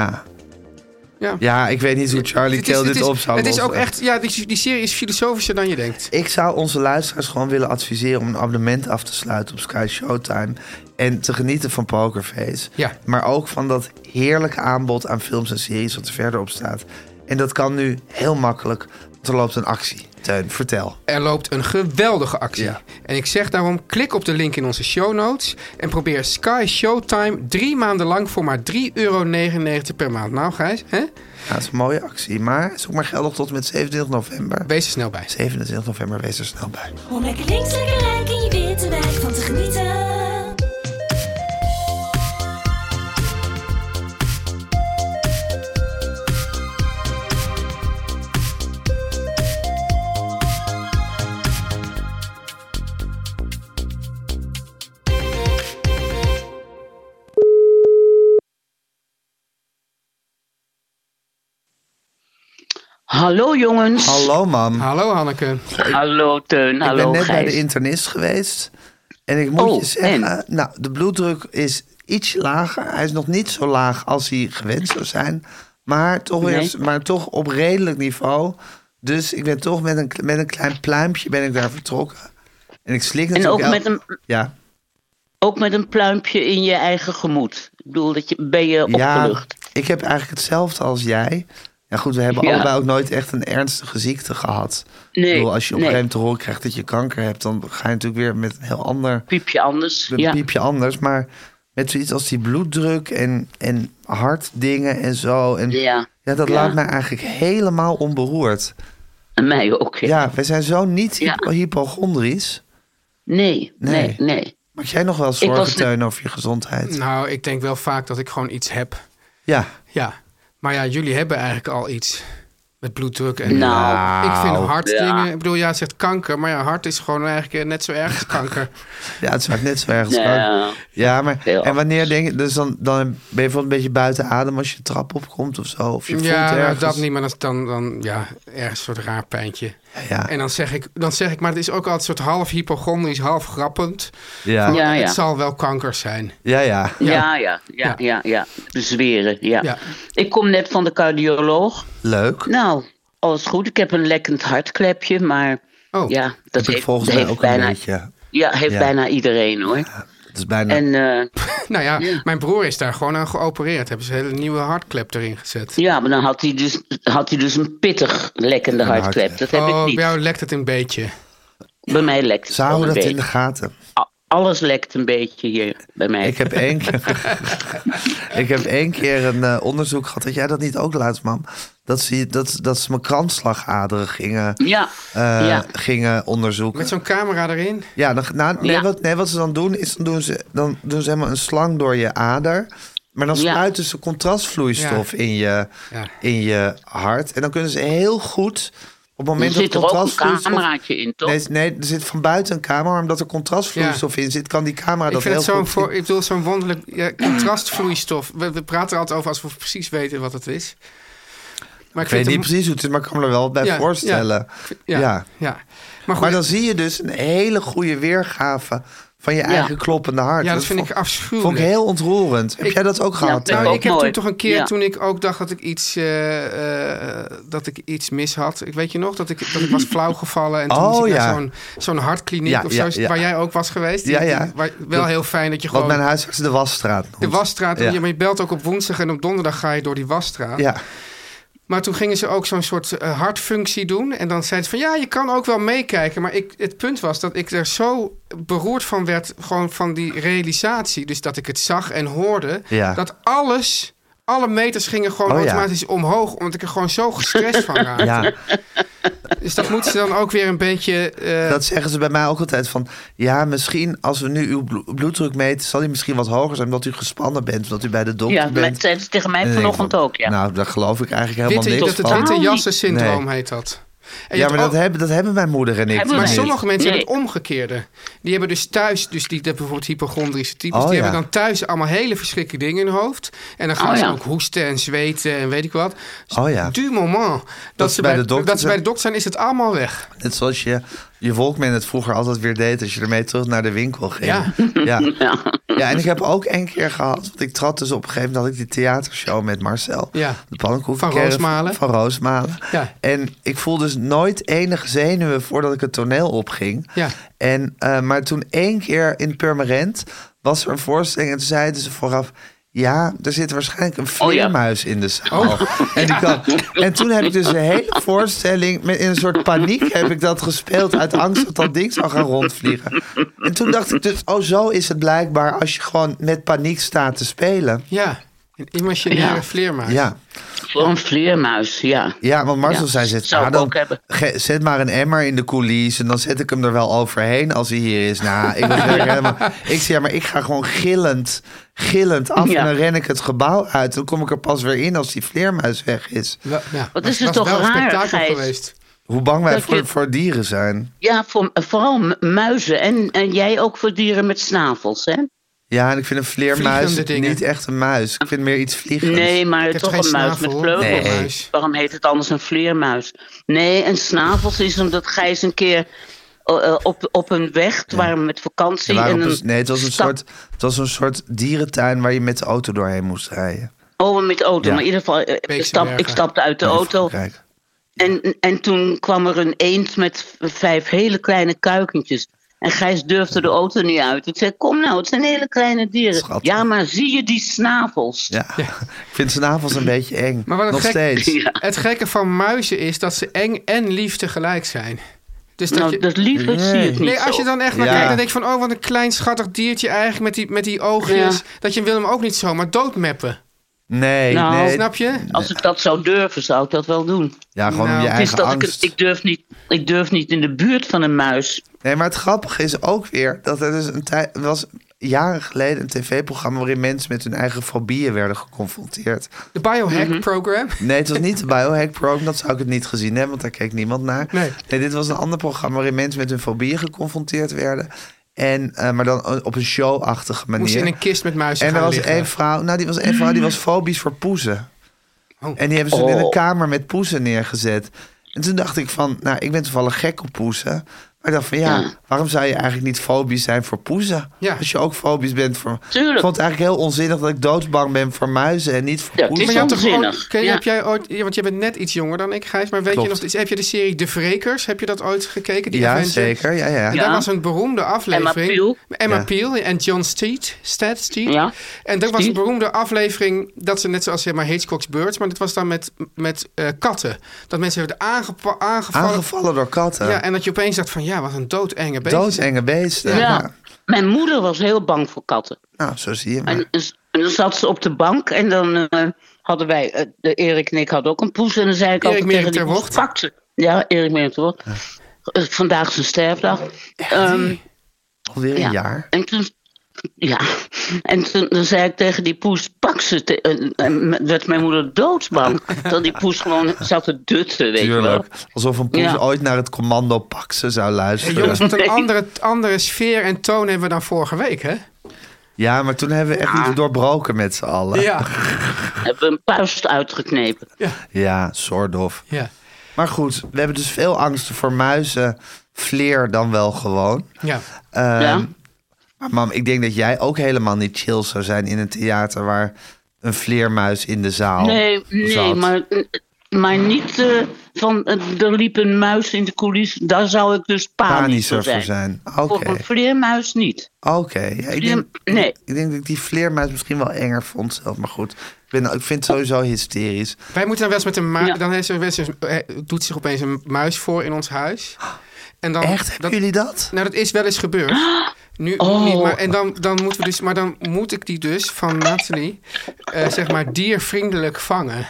B: ja.
A: Ja, ik weet niet hoe Charlie
B: Het is-
A: Kale
B: het
A: dit eh.
B: is-
A: op zou
B: Het is
A: lossen.
B: ook echt... Ja, die, die serie is filosofischer dan je denkt.
A: Ik zou onze luisteraars gewoon willen adviseren om een abonnement af te sluiten op Sky Showtime. En te genieten van Pokerface.
B: Ja.
A: Maar ook van dat heerlijke aanbod aan films en series wat er verder op staat. En dat kan nu heel makkelijk, want er loopt een actie. Teun, vertel.
B: Er loopt een geweldige actie.
A: Ja.
B: En ik zeg daarom, klik op de link in onze show notes... en probeer Sky Showtime drie maanden lang voor maar 3,99 euro per maand. Nou, Gijs, hè?
A: Ja, dat Nou, is een mooie actie, maar zoek maar geldig tot en met 27 november.
B: wees er snel bij.
A: 27 november, wees er snel bij.
E: Om lekker links, lekker rijk in je witte wijk van te genieten.
F: Hallo jongens.
A: Hallo mam.
B: Hallo Hanneke.
F: Hallo Teun.
A: ik
F: Hallo
A: ben net bij de
F: Gijs.
A: internist geweest. En ik moet
F: Oh,
A: je zeggen, nou, de bloeddruk is iets lager. Hij is nog niet zo laag als hij gewend zou zijn. Maar toch, weer-
F: Nee.
A: maar toch op redelijk niveau. Dus ik ben toch met een, met een klein pluimpje ben ik daar vertrokken. En ik slik
F: En
A: natuurlijk
F: ook
A: el-
F: met, een,
A: Ja,
F: ook met een pluimpje in je eigen gemoed. Ik bedoel, dat je, ben je
A: ja,
F: opgelucht.
A: ik heb eigenlijk hetzelfde als jij. Ja goed, we hebben
F: Ja.
A: allebei ook nooit echt een ernstige ziekte gehad.
F: Nee,
A: ik bedoel, als je op
F: nee.
A: een gegeven moment te horen krijgt dat je kanker hebt... dan ga je natuurlijk weer met een heel ander...
F: Piepje anders.
A: een
F: ja.
A: piepje anders. Maar met zoiets als die bloeddruk en, en hartdingen en zo. En,
F: Ja.
A: dat
F: Ja.
A: laat mij eigenlijk helemaal onberoerd.
F: En mij ook. Ja.
A: Ja, wij zijn zo niet
F: Ja.
A: hypo- hypochondrisch.
F: Nee, nee,
A: Nee.
F: nee.
A: Maak jij nog wel
F: was
A: zorgen,
F: net-
A: Teun, over je gezondheid?
B: Nou, ik denk wel vaak dat ik gewoon iets heb.
A: Ja.
B: Ja. Maar ja, jullie hebben eigenlijk al iets. Met bloeddruk en...
F: Nou.
B: Ik vind hartdingen...
F: Ja.
B: Ik bedoel, ja, het zegt kanker. Maar ja, hart is gewoon eigenlijk eh, net zo erg als kanker.
A: ja, het maakt net zo erg als
F: Nee.
A: kanker.
F: Nou,
A: Ja, maar
F: Heel
A: en wanneer denk je... Dus dan, dan ben je bijvoorbeeld een beetje buiten adem als je de trap opkomt of zo. Of je voelt
B: Ja, nou,
A: ergens-
B: dat niet. Maar dan, dan, dan ja, ergens een soort raar pijntje.
A: Ja,
B: En dan zeg, ik, dan zeg ik... Maar het is ook altijd een soort half hypochondrisch, half grappend.
A: ja, ja.
F: Ja, Ah, ja.
B: Het zal wel kanker zijn.
A: ja,
F: Ja, ja, ja, ja, ja. De zweren, ja.
B: Ja.
F: Ik kom net van de cardioloog.
A: Leuk.
F: Nou, alles goed. Ik heb een lekkend hartklepje, maar
B: Oh,
F: ja, dat
A: Dat heb ik
F: heeft,
A: volgens mij
F: heeft
A: ook
F: bijna,
A: een beetje.
F: Ja, heeft
A: Ja.
F: bijna iedereen hoor.
A: Het is bijna...
F: En eh,
B: <laughs> nou ja, mijn broer is daar gewoon aan geopereerd. Hebben ze een hele nieuwe hartklep erin gezet.
F: ja, maar dan had hij dus, had hij dus een pittig lekkende hartklep. Dat heb
B: oh,
F: ik
B: bij
F: niet.
B: jou lekt het een beetje.
F: Bij mij lekt het
A: Ze houden
F: wel een
A: dat in de
F: beetje.
A: gaten.
F: A- Alles lekt een beetje hier bij mij.
A: Ik heb één keer,
F: <laughs>
A: ik heb één keer een eh, onderzoek gehad. Had jij dat niet ook laatst, mam? Dat ze, dat, dat ze mijn kransslagaderen gingen,
F: Ja,
A: eh,
F: ja.
A: gingen onderzoeken.
B: Met zo'n camera erin.
A: Ja, dan, nou, nee,
F: Ja.
A: Wat, nee, wat ze dan doen, is dan doen ze, dan doen ze helemaal een slang door je ader. Maar dan
F: Ja.
A: spuiten ze contrastvloeistof
B: Ja.
A: in, je,
B: Ja.
A: in je hart. En dan kunnen ze heel goed... Op het
F: Er
A: moment
F: zit
A: dat
F: er ook een
A: contrastvloeistof...
F: cameraatje in, toch?
A: Nee, nee, er zit van buiten een camera, maar omdat er contrastvloeistof in zit, kan die camera
B: ik
A: dat
B: vind
A: heel
B: het zo'n
A: goed zien.
B: voor- ik bedoel, zo'n wonderlijk ja, contrastvloeistof. We, we praten er altijd over als we precies weten wat het is. Maar
A: Ik weet niet
B: het een-
A: precies hoe het is, maar ik kan me er wel bij
B: Ja,
A: voorstellen.
B: Ja,
A: Ja.
B: ja. Maar goed,
A: Maar dan zie je dus een hele goede weergave van je eigen kloppende hart.
B: ja, dat vind
A: vond,
B: ik afschuwelijk.
A: vond ik heel ontroerend. Heb
B: Ik-
A: jij dat ook gehad? eh,
F: dat
A: Teun?
B: Nou,
F: Ook
B: ik heb
F: mooi.
B: toen toch een keer,
F: Ja.
B: toen ik ook dacht dat ik iets, eh, eh, dat ik iets mis had. Ik weet je nog, dat ik, dat ik was flauw gevallen. En toen
A: Oh,
B: moest ik naar
A: ja.
B: zo'n zo'n hartkliniek
A: Ja,
B: of
A: ja,
B: zo,
A: ja.
B: waar jij ook was geweest.
A: Ja, ja.
B: waar- wel heel fijn dat je
A: Wat
B: gewoon
A: mijn huisarts de wasstraat noemt.
B: de wasstraat...
A: Ja.
B: Ja, maar je belt ook op woensdag en op donderdag ga je door die wasstraat.
A: Ja,
B: Maar toen gingen ze ook zo'n soort eh, hartfunctie doen. En dan zeiden ze van ja, je kan ook wel meekijken. Maar ik, het punt was dat ik er zo beroerd van werd. Gewoon van die realisatie. Dus dat ik het zag en hoorde.
A: Ja.
B: Dat alles, alle meters gingen gewoon
A: Oh, ja.
B: automatisch omhoog. Omdat ik er gewoon zo gestrest van raakte. <laughs>
A: ja,
B: Dus dat moeten ze dan ook weer een beetje... eh,
A: dat zeggen ze bij mij ook altijd van... ja, misschien als we nu uw blo- bloeddruk meten... zal die misschien wat hoger zijn omdat u gespannen bent... omdat u bij de dokter
F: ja,
A: bent.
F: dat zeiden ze tegen
A: En
F: mij
A: dan denk ik
F: vanochtend
A: van,
F: ook, ja.
A: Nou, daar geloof ik eigenlijk helemaal
B: witte, dat
A: niks
B: het
A: van.
B: witte
F: Totaal
B: jassen syndroom
A: niet.
B: heet dat. En je
A: Ja,
B: hebt
A: maar dat
B: ook-
A: hebben, dat hebben mijn moeder en ik.
F: Oh. Hebben
B: Maar
F: Nee.
B: sommige mensen
F: Nee.
B: hebben het omgekeerde. Die hebben dus thuis, dus die dat bijvoorbeeld hypochondrische types,
A: Oh,
B: die
A: ja.
B: hebben dan thuis allemaal hele verschrikkelijke dingen in hun hoofd. En dan gaan
F: Oh,
B: ze
F: ja.
B: ook hoesten en zweten en weet ik wat. Dus
A: Oh, ja.
B: Du moment dat, ze, bij de dokter, dat ze bij de dokter zijn, is het allemaal weg.
A: Net zoals je je Walkman het vroeger altijd weer deed als je ermee terug naar de winkel ging.
B: Ja.
A: ja.
F: Ja. <laughs>
A: Ja, en ik heb ook één keer gehad, want ik trad dus op een gegeven moment had ik die theatershow met Marcel.
B: Ja.
A: De pannenkoek.
B: Van Roosmalen.
A: Van Roosmalen.
B: Ja.
A: En ik voel dus nooit enige zenuwen voordat ik het toneel opging.
B: Ja.
A: En, eh, maar toen één keer in Purmerend was er een voorstelling en toen zeiden ze vooraf... Ja, er zit waarschijnlijk een
F: Oh, ja. Oh.
A: vleermuis in de zaal. En, die kan- en toen heb ik dus een hele voorstelling... Met, in een soort paniek heb ik dat gespeeld... uit angst dat dat ding zou gaan rondvliegen. En toen dacht ik dus... oh, zo is het blijkbaar als je gewoon met paniek staat te spelen.
B: Ja, een imaginaire
F: Ja.
B: vleermuis.
A: Ja,
F: Voor een vleermuis, ja.
A: ja want Marcel
F: Ja,
A: zei... Zet,
F: zou
A: ah,
F: ik
A: dan,
F: ook hebben.
A: ge- zet maar een emmer in de coulissen... en dan zet ik hem er wel overheen als hij hier is. Nou, ik, was er helemaal, ik zei, ja, maar ik ga gewoon gillend, gillend af...
F: Ja.
A: en dan ren ik het gebouw uit. Dan kom ik er pas weer in als die vleermuis weg is.
B: Wel- ja.
F: Wat
B: Maar
F: is het
B: was
F: toch
B: wel
F: raar,
B: een spektakel
F: Gijs?
B: geweest.
A: Hoe bang wij
F: Dat
A: voor,
F: je-
A: voor dieren zijn.
F: Ja, voor, vooral mu- muizen. En, en jij ook voor dieren met snavels, hè?
A: Ja, en ik vind een vleermuis
B: Vliegende dingen.
A: niet echt een muis. Ik vind meer iets vliegends.
F: Nee, maar
B: heeft
F: toch
B: geen
F: een muis
B: snavel,
F: met
B: hoor.
F: vleugels.
A: Nee.
F: Waarom heet het anders een vleermuis? Nee, een snavels is omdat Gijs een keer eh, eh, op, op een weg, toen waren we met vakantie.
A: Er waren
F: en
A: op
F: een
A: een- nee, het was een,
F: stad-
A: soort, het was een soort dierentuin waar je met de auto doorheen moest rijden.
F: Oh, met de auto.
A: Ja.
F: Maar in ieder geval, eh,
B: Beekse
F: stap,
B: Bergen.
F: ik stapte uit de
A: In
F: auto.
A: Frankrijk.
F: En, en toen kwam er een eend met v- vijf hele kleine kuikentjes. En Gijs durfde de auto niet uit. Ik zei, kom nou, het zijn hele kleine dieren.
A: Schattig.
F: Ja, maar zie je die snavels?
A: Ja. <laughs> ik vind snavels een beetje eng.
B: Maar wat een
A: Nog
B: gek-
A: steeds.
F: <laughs> Ja.
B: Het gekke van muizen is dat ze eng en lief tegelijk zijn. Dus dat
F: nou,
B: je...
F: dat liever zie ik niet
B: Nee, als
F: zo.
B: je dan echt naar
A: Ja.
B: kijkt, dan denk je van... oh, wat een klein schattig diertje eigenlijk met die, met die oogjes.
F: Ja.
B: Dat je wil hem ook niet zomaar doodmeppen.
A: Nee,
F: Nou,
A: nee.
B: Snap je?
F: Als ik dat zou durven, zou ik dat wel doen.
A: Ja, gewoon
B: Nou,
A: om je
B: het
F: Het is
A: eigen
F: dat ik,
A: angst.
F: het- ik, durf niet, ik durf niet in de buurt van een muis.
A: Nee, maar het grappige is ook weer dat er dus een tijd er was jaren geleden een tv-programma waarin mensen met hun eigen fobieën werden geconfronteerd.
B: De biohack
F: Mhm.
B: program.
A: Nee, het was niet de Biohack Program, dat zou ik het niet gezien hebben, want daar keek niemand naar.
B: Nee.
A: dit was een ander programma waarin mensen met hun fobieën geconfronteerd werden. En, eh, maar dan op een showachtige manier.
B: Moest je in een kist met muizen
A: En er
B: gaan
A: was
B: liggen.
A: één vrouw, nou die was één vrouw, die was fobisch voor poezen.
B: Oh.
A: En die hebben ze toen in een
F: Oh.
A: kamer met poezen neergezet. En toen dacht ik van, nou ik ben toevallig gek op poezen. Maar ik dacht van ja, waarom zou je eigenlijk niet fobisch zijn voor poezen?
B: Ja.
A: Als je ook fobisch bent voor...
F: Tuurlijk.
A: Ik vond het eigenlijk heel onzinnig dat ik doodsbang ben voor muizen en niet voor
F: Ja, het
A: poezen.
F: is
B: Maar je had toch
F: Onzinnig,
B: ooit, ken je-
F: ja.
B: heb jij ooit, ja, want jij bent net iets jonger dan ik, Gijs, maar weet
A: Klopt.
B: je nog iets? Heb je de serie De Vrekers, heb je dat ooit gekeken? Die
A: Ja,
B: Avengers?
A: zeker. Ja, ja.
B: En
F: Ja.
B: daar was een beroemde aflevering.
F: Emma Peel.
B: Emma
A: Ja.
B: Peel en John Steed. Stead, Steed.
F: Ja.
B: En dat was een
F: Steed.
B: beroemde aflevering, dat ze net zoals zeg maar Hitchcock's Birds, maar dat was dan met, met eh, katten. Dat mensen werden aangepa- aangevallen.
A: Aangevallen door katten.
B: Ja, en dat je opeens dacht van, ja, wat een doodenge beest.
A: Doodenge beesten.
F: Ja.
A: Ja.
F: Mijn moeder was heel bang voor katten.
A: Nou, zo zie je maar.
F: En, en dan zat ze op de bank en dan eh, hadden wij, eh, de Erik en ik hadden ook een poes. En dan zei ik
B: Erik
F: altijd
B: Merk
F: tegen
B: ter
F: die poes,
B: Wocht.
F: pak ze. Ja, Erik Merk ter Wocht. Eh, Vandaag is zijn sterfdag. Ehm,
A: Alweer een
F: ja.
A: jaar.
F: En toen, ja, en toen dan zei ik tegen die poes, pak ze. Te, en, en werd mijn moeder
A: <laughs>
F: doodsbang. dat die poes gewoon zat te dutten, weet je wel.
A: Tuurlijk. Alsof een poes
F: Ja.
A: ooit naar het commando Paxen zou luisteren.
B: Jongens, wat een andere, andere sfeer en toon hebben we dan vorige week, hè?
A: Ja, maar toen hebben we echt iets doorbroken met z'n allen. Ja,
B: Ja.
F: Hebben we een puist uitgeknepen.
A: soort of.
B: ja.
A: Maar goed, we hebben dus veel angsten voor muizen, vleer dan wel gewoon.
B: Ja.
A: Ehm,
F: ja?
A: Maar mam, ik denk dat jij ook helemaal niet chill zou zijn in een theater waar een vleermuis in de zaal
F: Nee, nee
A: zat.
F: maar, eh, maar niet eh, van eh, er liep een muis in de coulissen. Daar zou ik dus panisch
A: Panischer
F: voor
A: voor
F: zijn.
A: zijn. Oké,
F: Voor een vleermuis niet.
A: oké. Ja, ik, denk,
F: nee.
A: ik denk dat ik die vleermuis misschien wel enger vond zelf. Maar goed, ik, ben, ik vind het sowieso hysterisch.
B: Wij moeten dan wel eens met een muis...
F: Ja.
B: Dan heeft er wel eens een- eh, doet zich opeens een muis voor in ons huis. En dan,
A: Echt, hebben
B: Oh, dat-
A: jullie dat?
B: Nou, dat is wel eens gebeurd. Nu
F: Oh.
B: niet, maar, en dan, dan moeten we dus, maar dan moet ik die dus van Nathalie, eh, zeg maar, diervriendelijk vangen.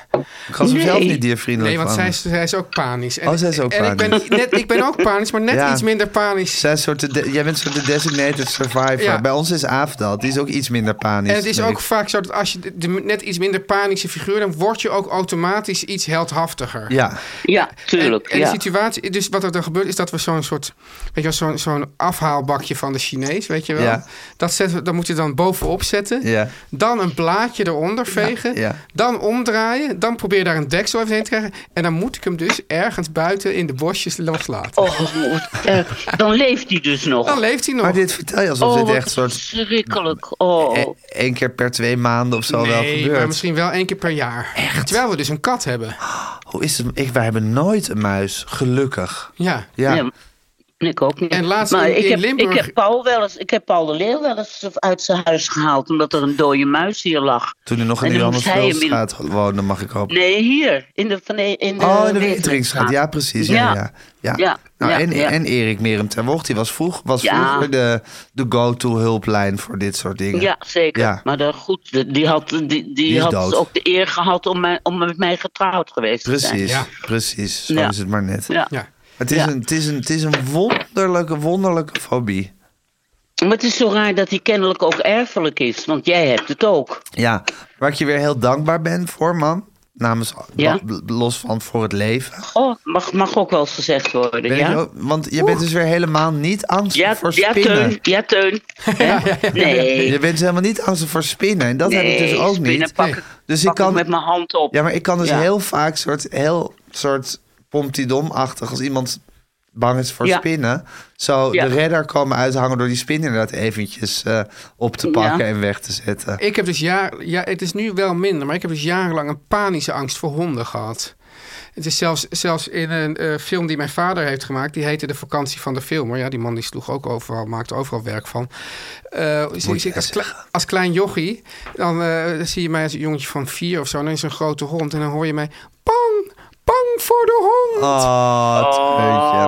A: Ik was zelf niet diervriendelijk
B: Nee, want
A: van.
B: zij is, zij is ook panisch. En,
A: Oh, zij is ook
B: en
A: panisch.
B: Ik ben, net, ik ben ook panisch, maar net
A: Ja.
B: iets minder panisch.
A: Zij is soort de de- jij bent soort de designated survivor.
B: Ja.
A: Bij ons is Aaf dat. Die is ook iets minder panisch.
B: En het is
A: denk
B: ook
A: ik.
B: vaak zo dat als je de, de net iets minder panische figuur... dan word je ook automatisch iets heldhaftiger.
A: Ja,
F: Ja, tuurlijk.
B: En, en
F: ja.
B: de situatie, dus wat er dan gebeurt, is dat we zo'n soort, weet je wel, zo'n zo'n afhaalbakje van de Chinees, weet je wel.
A: Ja.
B: Dat, zetten, we- dat moet je dan bovenop zetten.
A: Ja.
B: Dan een plaatje eronder vegen.
A: Ja, ja.
B: Dan omdraaien. Dan probeer daar een deksel even heen te krijgen. En dan moet ik hem dus ergens buiten in de bosjes loslaten.
F: Oh, wat erg. dan leeft hij dus nog.
B: Dan leeft hij nog.
A: maar dit vertel je alsof
F: oh,
A: dit
F: wat
A: echt soort
F: verschrikkelijk. Oh.
A: e- één keer per twee maanden of zo wel
B: nee, maar
A: gebeurt.
B: misschien wel één keer per jaar. Echt? Terwijl we dus een kat hebben.
A: Ah. Hoe is het? Ik, wij hebben nooit een muis, gelukkig.
B: Ja.
A: Ja,
F: Ja, ik ook niet.
B: En laatst
F: maar
B: in-
F: ik,
B: in
F: heb,
B: Limburg-
F: ik, heb Paul wel eens, ik heb Paul de Leeuw wel eens uit zijn huis gehaald. omdat er een dode muis hier lag.
A: toen hij nog
F: En
A: in de
F: dan moest hij hem in-
A: Johannesveldstraat woonde, mag ik hopen.
F: Nee, hier. In de, van de, in de
A: Oh, in de
F: Weteringsstraat.
A: Weteringsstraat. Ja, precies. Ja,
F: Ja.
A: ja. ja.
F: Ja,
A: Nou,
F: ja,
A: en,
F: ja.
A: en Erik Merem ter Wocht, die was, vroeg, was
F: Ja.
A: vroeger de, de go-to-hulplijn voor dit soort dingen.
F: Ja, zeker.
A: Ja.
F: Maar dan goed, de- die had, die, die
A: is
F: had dus
A: dood.
F: ook de eer gehad om, mij, om met mij getrouwd geweest te zijn.
A: Precies,
B: Ja.
A: precies. Zo
F: Ja.
A: is het maar net.
F: Ja.
B: ja.
A: Het is,
F: Ja.
A: een, het, is een, het is een wonderlijke, wonderlijke fobie.
F: Maar het is zo raar dat hij kennelijk ook erfelijk is, want jij hebt het ook.
A: Ja, waar ik je weer heel dankbaar ben voor, man. Namens
F: Ja.
A: lo- Los van Voor het Leven.
F: Oh, mag, mag ook wel eens gezegd worden,
A: Ben
F: ja?
A: ik ook- want je bent dus weer helemaal niet angstig
F: Ja,
A: voor
F: ja,
A: spinnen.
F: Teun. Ja, Teun. Hè? Nee.
A: Je bent helemaal niet angstig voor spinnen. En dat heb ik dus
F: Nee,
A: ook
F: spinnen
A: niet.
F: pak ik-
A: dus
F: pak
A: ik kan,
F: met mijn hand op.
A: Ja, maar ik kan dus
F: Ja.
A: heel vaak soort, heel soort pompidom-achtig als iemand bang is voor
F: Ja.
A: spinnen. Zo
F: Ja.
A: de redder komen uithangen door die spin inderdaad eventjes eh, op te
F: Ja.
A: pakken en weg te zetten.
B: Ik heb dus jaar, ja, het is nu wel minder, maar ik heb dus jarenlang een panische angst voor honden gehad. Het is zelfs, zelfs in een eh, film die mijn vader heeft gemaakt, die heette De Vakantie van de Filmer. Ja, die man die sloeg ook overal, maakte overal werk van. Eh, zie-
A: Moet
B: zie ik
A: jij
B: als, kle- als klein jochie, dan eh, zie je mij als een jongetje van vier of zo, en dan is er een grote hond en dan hoor je mij, bang, bang voor de hond.
A: Oh, het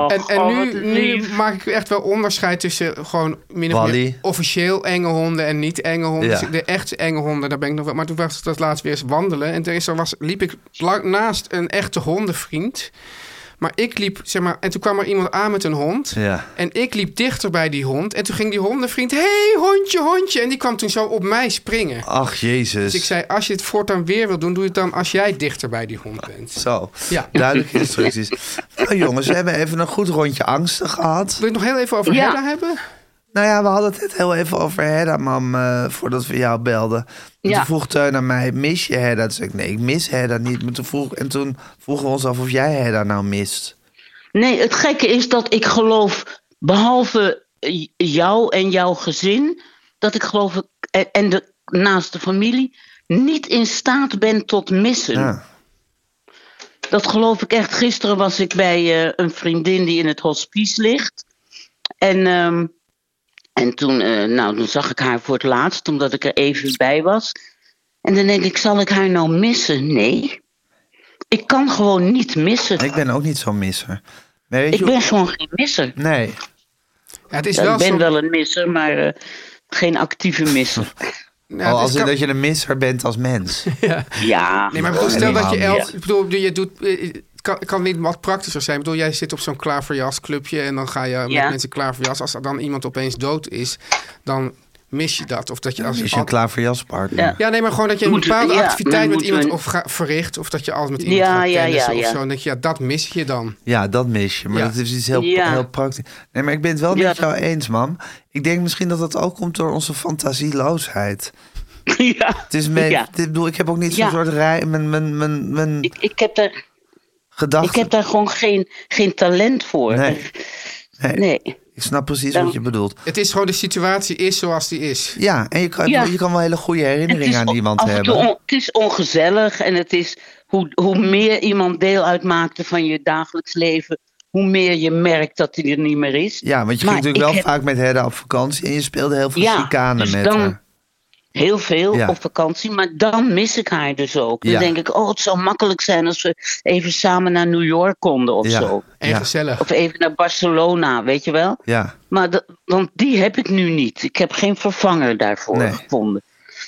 A: peutje.
B: En, en
F: Oh,
B: nu,
F: wat
B: nu
F: lief.
B: maak ik echt wel onderscheid tussen gewoon min of meer
A: Wally.
B: officieel enge honden en niet enge honden.
A: Ja.
B: Dus de echt enge honden, daar ben ik nog wel. Maar toen was ik dat laatst weer eens wandelen. En toen is er was, liep ik lang- naast een echte hondenvriend. Maar ik liep, zeg maar, en toen kwam er iemand aan met een hond.
A: Ja.
B: En ik liep dichter bij die hond. En toen ging die hondenvriend, hé hey, hondje, hondje. En die kwam toen zo op mij springen.
A: Ach, jezus.
B: Dus ik zei, als je het voortaan weer wil doen, doe het dan als jij dichter bij die hond bent.
A: Zo,
B: Ja.
A: duidelijke instructies. <laughs> nou jongens, we hebben even een goed rondje angsten gehad.
B: Wil je het nog heel even over
F: Ja.
B: Hedda hebben?
A: Nou ja, we hadden het net heel even over Hedda, mam, eh, voordat we jou belden. En
F: Ja.
A: Toen vroeg Teun aan mij, mis je Hedda? Toen zei ik, nee, ik mis Hedda niet. Maar toen vroeg, en toen vroegen we ons af of jij Hedda nou mist.
F: Nee, het gekke is dat ik geloof, behalve eh, jou en jouw gezin, dat ik geloof, en- en de naaste familie, niet in staat ben tot missen.
A: Ja.
F: Dat geloof ik echt. Gisteren was ik bij eh, een vriendin die in het hospice ligt. En, ehm, en toen, eh, nou, toen zag ik haar voor het laatst, omdat ik er even bij was. En dan denk ik, zal ik haar nou missen? Nee. Ik kan gewoon niet missen.
A: Ik ben ook niet zo'n misser. Nee, weet
F: Ik
A: je-
F: ben gewoon geen misser.
A: Nee,
B: Ja, het is
F: Ja,
B: wel
F: ik ben
B: zo-
F: wel een misser, maar eh, geen actieve
A: <laughs>
F: misser.
B: Ja,
A: al
B: het
A: als
B: is
A: in
B: ka-
A: dat je een misser bent als
F: <laughs>
A: mens.
F: ja.
B: Nee, maar ik bedoel,
A: Ja,
B: stel dat je
A: helemaal
B: elf...
F: niet.
B: Ik bedoel, je doet, eh, het kan, het kan niet wat praktischer zijn. Ik bedoel, jij zit op zo'n klaverjas clubje en dan ga je
F: Ja.
B: met mensen klaverjas. Als er dan iemand opeens dood is, dan mis je dat. Of dat je als
A: Is je een klaar voor jaspartner?
F: Ja.
B: Ja, nee, maar gewoon dat je een
F: Moet-
B: bepaalde
F: ja,
B: activiteit
F: dan
B: met
F: moeten we
B: iemand
F: een-
B: of ga- verricht. Of dat je altijd met iemand
F: Ja,
B: gaat
F: ja,
B: tennissen
F: ja,
B: of
F: ja.
B: zo. En denk je, ja, dat mis je dan.
A: Ja, dat mis je. Maar
B: Ja.
A: dat is iets heel,
F: Ja.
A: heel praktisch. Nee, maar ik ben het wel
F: Ja.
A: met jou eens, mam. Ik denk misschien dat dat ook komt door onze fantasieloosheid.
F: <laughs> ja.
A: Het is mee,
F: Ja.
A: dit- ik bedoel, ik heb ook niet zo'n
F: Ja.
A: soort rij, mijn, mijn, mijn, mijn
F: Ik, ik, heb daar,
A: gedachten.
F: ik heb daar gewoon geen, geen talent voor.
A: Nee. Nee.
F: Nee.
A: Ik snap precies
F: Dan-
A: wat je bedoelt.
B: Het is gewoon, de situatie is zoals die is.
A: Ja, en je kan,
F: Ja.
A: Je kan wel hele goede herinneringen aan
F: on-
A: iemand
F: af en toe
A: hebben.
F: on- het is ongezellig en het is hoe, hoe meer iemand deel uitmaakte van je dagelijks leven, hoe meer je merkt dat hij er niet meer is.
A: Ja, want je
F: Maar
A: ging natuurlijk wel
F: ik heb
A: vaak met Hedda op vakantie en je speelde heel veel
F: Ja,
A: chicanen
F: dus
A: met
F: dan-
A: haar.
F: Heel veel
A: Ja.
F: op vakantie, maar dan mis ik haar dus ook. Dan
A: Ja.
F: denk ik, oh, het zou makkelijk zijn als we even samen naar New York konden of
A: Ja.
F: zo.
B: En
A: Ja.
B: gezellig.
F: Of even naar Barcelona, weet je wel?
A: Ja,
F: Maar dat- want die heb ik nu niet. Ik heb geen vervanger daarvoor
A: Nee.
F: gevonden.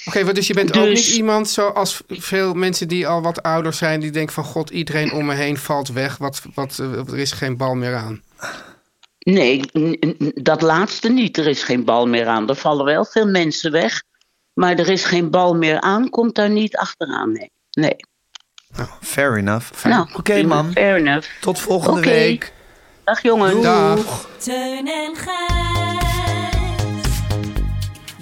B: Oké, maar dus je bent ook
F: Dus-
B: niet iemand zoals veel mensen die al wat ouder zijn. Die denken van, god, iedereen om me heen valt weg. Wat, wat, eh, er is geen bal meer aan.
F: Nee, ik- n- n- dat laatste niet. Er is geen bal meer aan. Er vallen wel veel mensen weg. Maar er is geen bal meer aan, komt daar niet achteraan. Nee. nee.
A: fair enough.
F: Nou,
A: Oké, mam.
F: Fair enough.
A: Tot volgende
F: Oké.
A: week.
F: Dag jongens.
B: Dag.
E: Teun en Gijs.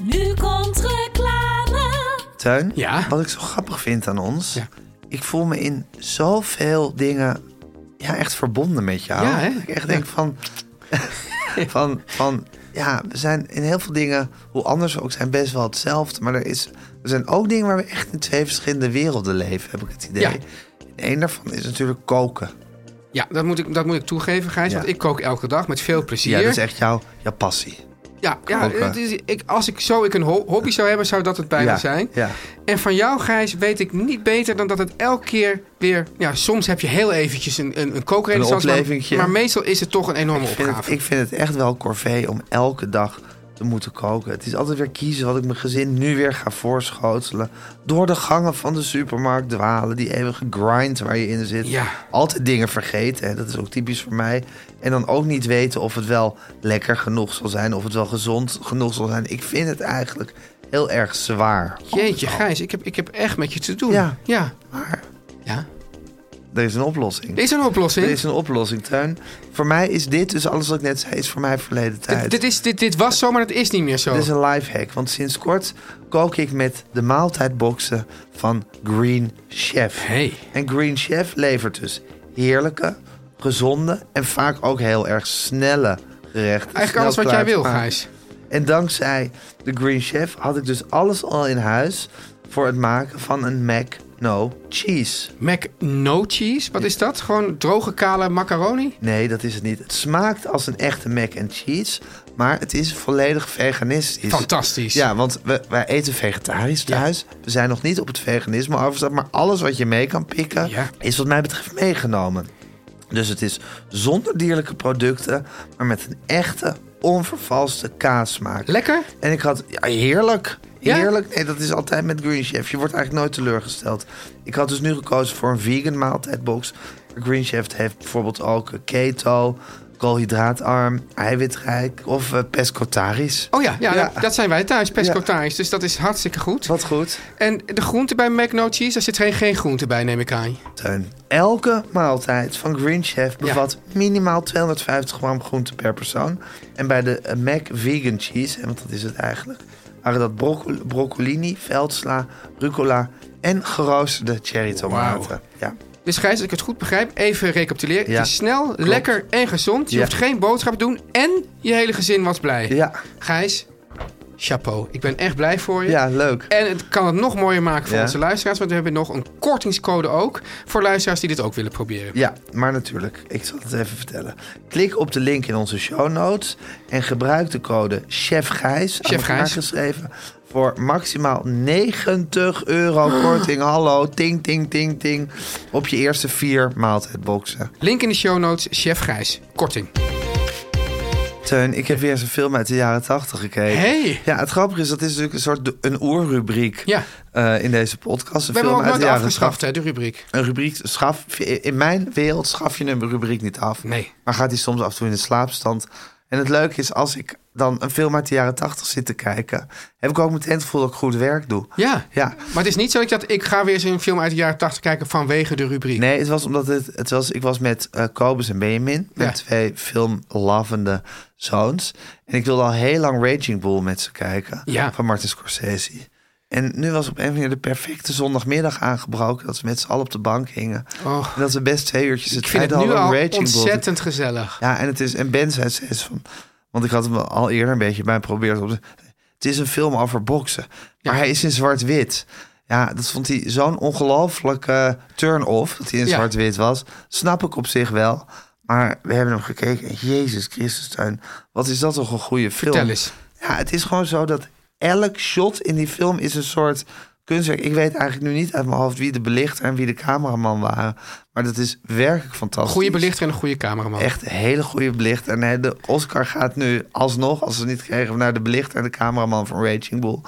E: Nu komt reclame.
A: Tuin,
B: Ja?
A: wat ik zo grappig vind aan ons...
B: Ja.
A: ik voel me in zoveel dingen ja, echt verbonden met jou.
B: Ja, hè?
A: Dat Ik echt denk van, <laughs> van, van... Ja, we zijn in heel veel dingen, hoe anders we ook zijn, best wel hetzelfde. Maar er, is, er zijn ook dingen waar we echt in twee verschillende werelden leven, heb ik het idee.
B: Ja.
A: En één daarvan is natuurlijk koken.
B: Ja, dat moet ik, dat moet ik toegeven, Gijs.
A: Ja.
B: Want ik kook elke dag met veel plezier.
A: Ja, dat is echt jouw, jouw passie.
B: ja, ja,
A: koken.
B: het is- ik, als ik zo ik een ho- hobby zou hebben, zou dat het bijna
A: ja,
B: zijn.
A: Ja.
B: En van jou, Gijs, weet ik niet beter dan dat het elke keer weer... Ja, soms heb je heel eventjes een, een, een kookrenaissance.
A: Een
B: maar-
A: oplevingje.
B: Maar, meestal is het toch een
A: Ik,
B: enorme
A: vind het,
B: opgave.
A: ik vind het echt wel corvée om elke dag te moeten koken. Het is altijd weer kiezen wat ik mijn gezin nu weer ga voorschotelen. Door de gangen van de supermarkt dwalen. Die eeuwige grind waar je in zit.
B: Ja.
A: Altijd dingen vergeten. Hè? Dat is ook typisch voor mij. En dan ook niet weten of het wel lekker genoeg zal zijn. Of het wel gezond genoeg zal zijn. Ik vind het eigenlijk heel erg zwaar.
B: Jeetje, Gijs, ik heb, ik heb echt met je te doen.
A: Oh. Ja.
B: ja.
A: Maar
B: Ja?
A: Er is een oplossing.
B: Er is een oplossing.
A: Er is een oplossing, Teun. Voor mij is dit, dus alles wat ik net zei, is voor mij verleden tijd.
B: dit, dit is, dit, dit was zo, maar dat is niet meer zo.
A: Dit is een lifehack, want sinds kort kook ik met de maaltijdboxen van Green Chef.
B: Hey.
A: En Green Chef levert dus heerlijke, gezonde en vaak ook heel erg snelle gerechten. Snel
B: Eigenlijk alles wat jij wil,
A: klaar te maken.
B: Gijs.
A: En dankzij de Green Chef had ik dus alles al in huis voor het maken van een Mac No Cheese.
B: Mac no cheese, wat is dat? Gewoon droge kale macaroni?
A: Nee, dat is het niet. Het smaakt als een echte mac and cheese, maar het is volledig veganistisch.
B: Fantastisch.
A: Ja, want we, wij eten vegetarisch thuis. We zijn nog niet op het veganisme overgestapt, maar alles wat je mee kan pikken
B: Ja.
A: is wat mij betreft meegenomen. Dus het is zonder dierlijke producten, maar met een echte, onvervalste kaasmaak.
B: Lekker?
A: En ik had, ja, heerlijk.
B: Ja?
A: Heerlijk. Nee, dat is altijd met Green Chef. Je wordt eigenlijk nooit teleurgesteld. Ik had dus nu gekozen voor een vegan maaltijdbox. Green Chef heeft bijvoorbeeld ook keto, koolhydraatarm, eiwitrijk of eh, pescotarisch.
B: Oh ja, ja,
A: Ja.
B: dat- dat zijn wij thuis, pesco thuis. Dus dat is hartstikke goed.
A: Wat goed.
B: En de groente bij Mac no cheese, daar zit geen, geen groente bij, neem ik aan.
A: Teun, elke maaltijd van Green Chef bevat minimaal 250 gram groente per persoon. En bij de eh, Mac Vegan Cheese, hè, want dat is het eigenlijk, waren dat broccoli, broccolini, veldsla, rucola en geroosterde cherrytomaten. Ja.
B: Dus Gijs, als ik het goed begrijp, even recapituleren.
A: Ja.
B: Het is snel, lekker en gezond. Je
A: Ja.
B: hoeft geen boodschap te doen en je hele gezin was blij.
A: Ja.
B: Gijs, chapeau. Ik ben echt blij voor je.
A: ja, leuk.
B: En het kan het nog mooier maken voor
A: Ja.
B: onze luisteraars, want we hebben nog een kortingscode ook voor luisteraars die dit ook willen proberen.
A: Ja, maar natuurlijk, ik zal het even vertellen. Klik op de link in onze show notes en gebruik de code ChefGijs, aan
B: Chef
A: elkaar
B: Gijs.
A: geschreven, voor maximaal 90 euro
B: Ah.
A: korting. Hallo, ting, ting, ting, ting. Op je eerste vier maaltijdboxen.
B: Link in de show notes, Chef Gijs. Korting.
A: Teun, ik heb weer eens een film uit de jaren 80 gekeken.
B: Hey.
A: Ja, het grappige is, dat is natuurlijk een soort de- een oerrubriek
B: Ja.
A: eh, in deze podcast. Een
B: We hebben
A: film
B: hem ook
A: uit de
B: nooit
A: jaren
B: afgeschaft, hè, de rubriek.
A: Een rubriek schaf, in mijn wereld schaf je een rubriek niet af.
B: Nee.
A: Maar gaat die soms af en toe in de slaapstand. En het leuke is, als ik dan een film uit de jaren tachtig zit te kijken, heb ik ook meteen het gevoel dat ik goed werk doe.
B: Ja.
A: Ja.
B: maar het is niet zo dat ik, dat, ik ga weer eens een film uit de jaren 80 kijken vanwege de rubriek.
A: Nee, het was omdat het, het was, ik was met eh Kobus en Benjamin, met
B: Ja.
A: twee filmlovende zoons. En ik wilde al heel lang Raging Bull met ze kijken,
B: Ja.
A: van Martin Scorsese. En nu was op een manier de perfecte zondagmiddag aangebroken, dat ze met z'n allen op de bank hingen.
B: Oh.
A: En dat ze best twee uurtjes het
B: ik vind
A: feit
B: het nu
A: hadden om
B: al
A: Raging Bull te
B: ontzettend gezellig.
A: Ja, en, het is, en Ben zei steeds van... Want ik had hem al eerder een beetje bij geprobeerd. Op te- het is een film over boksen. Maar hij is in zwart-wit. Ja, dat vond hij zo'n ongelooflijke turn-off. Dat hij in
B: Ja.
A: zwart-wit was. Snap ik op zich wel. Maar we hebben hem gekeken. en Jezus Christus, Teun, Wat is dat toch een goede film.
B: Vertel eens.
A: Ja, het is gewoon zo dat elk shot in die film is een soort kunstwerk. Ik weet eigenlijk nu niet uit mijn hoofd wie de belichter en wie de cameraman waren. Maar dat is werkelijk fantastisch.
B: Goede belichter en een goede cameraman.
A: Echt een hele goede belicht. En hè, de Oscar gaat nu alsnog, als ze het niet kregen, naar de belicht en de cameraman van Raging Bull.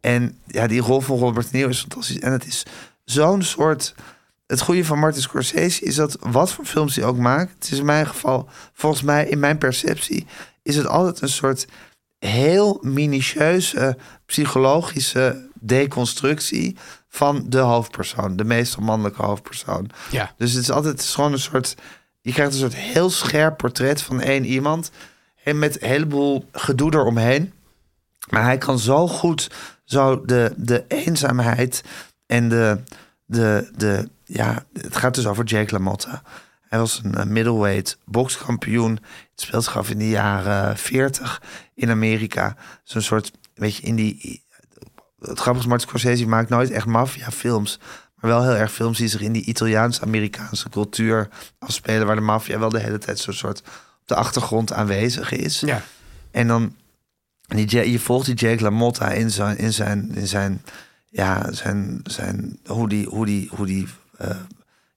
A: En ja, die rol van Robert Neal is fantastisch. En het is zo'n soort... Het goede van Martin Scorsese is dat wat voor films hij ook maakt... het is in mijn geval, volgens mij, in mijn perceptie... is het altijd een soort heel minutieuze psychologische deconstructie... van de hoofdpersoon, de meestal mannelijke hoofdpersoon.
B: Ja.
A: Dus het is altijd het is gewoon een soort... Je krijgt een soort heel scherp portret van één iemand... en met een heleboel gedoe eromheen. Maar hij kan zo goed zo de, de eenzaamheid en de, de, de... Ja, het gaat dus over Jake LaMotta. Hij was een eh, middleweight bokskampioen. Het speelt zich af in de jaren 40 in Amerika. Zo'n soort, weet je, in die... Het grappige is, Martin Scorsese maakt nooit echt maffiafilms. Maar wel heel erg films die zich in die Italiaans-Amerikaanse cultuur afspelen... waar de maffia wel de hele tijd zo'n soort op de achtergrond aanwezig is.
B: Ja.
A: En dan, en die, Ja- je volgt die Jake LaMotta in zijn, in zijn, in zijn, ja, zijn, zijn, hoe die, hoe die, hoe die eh, ja,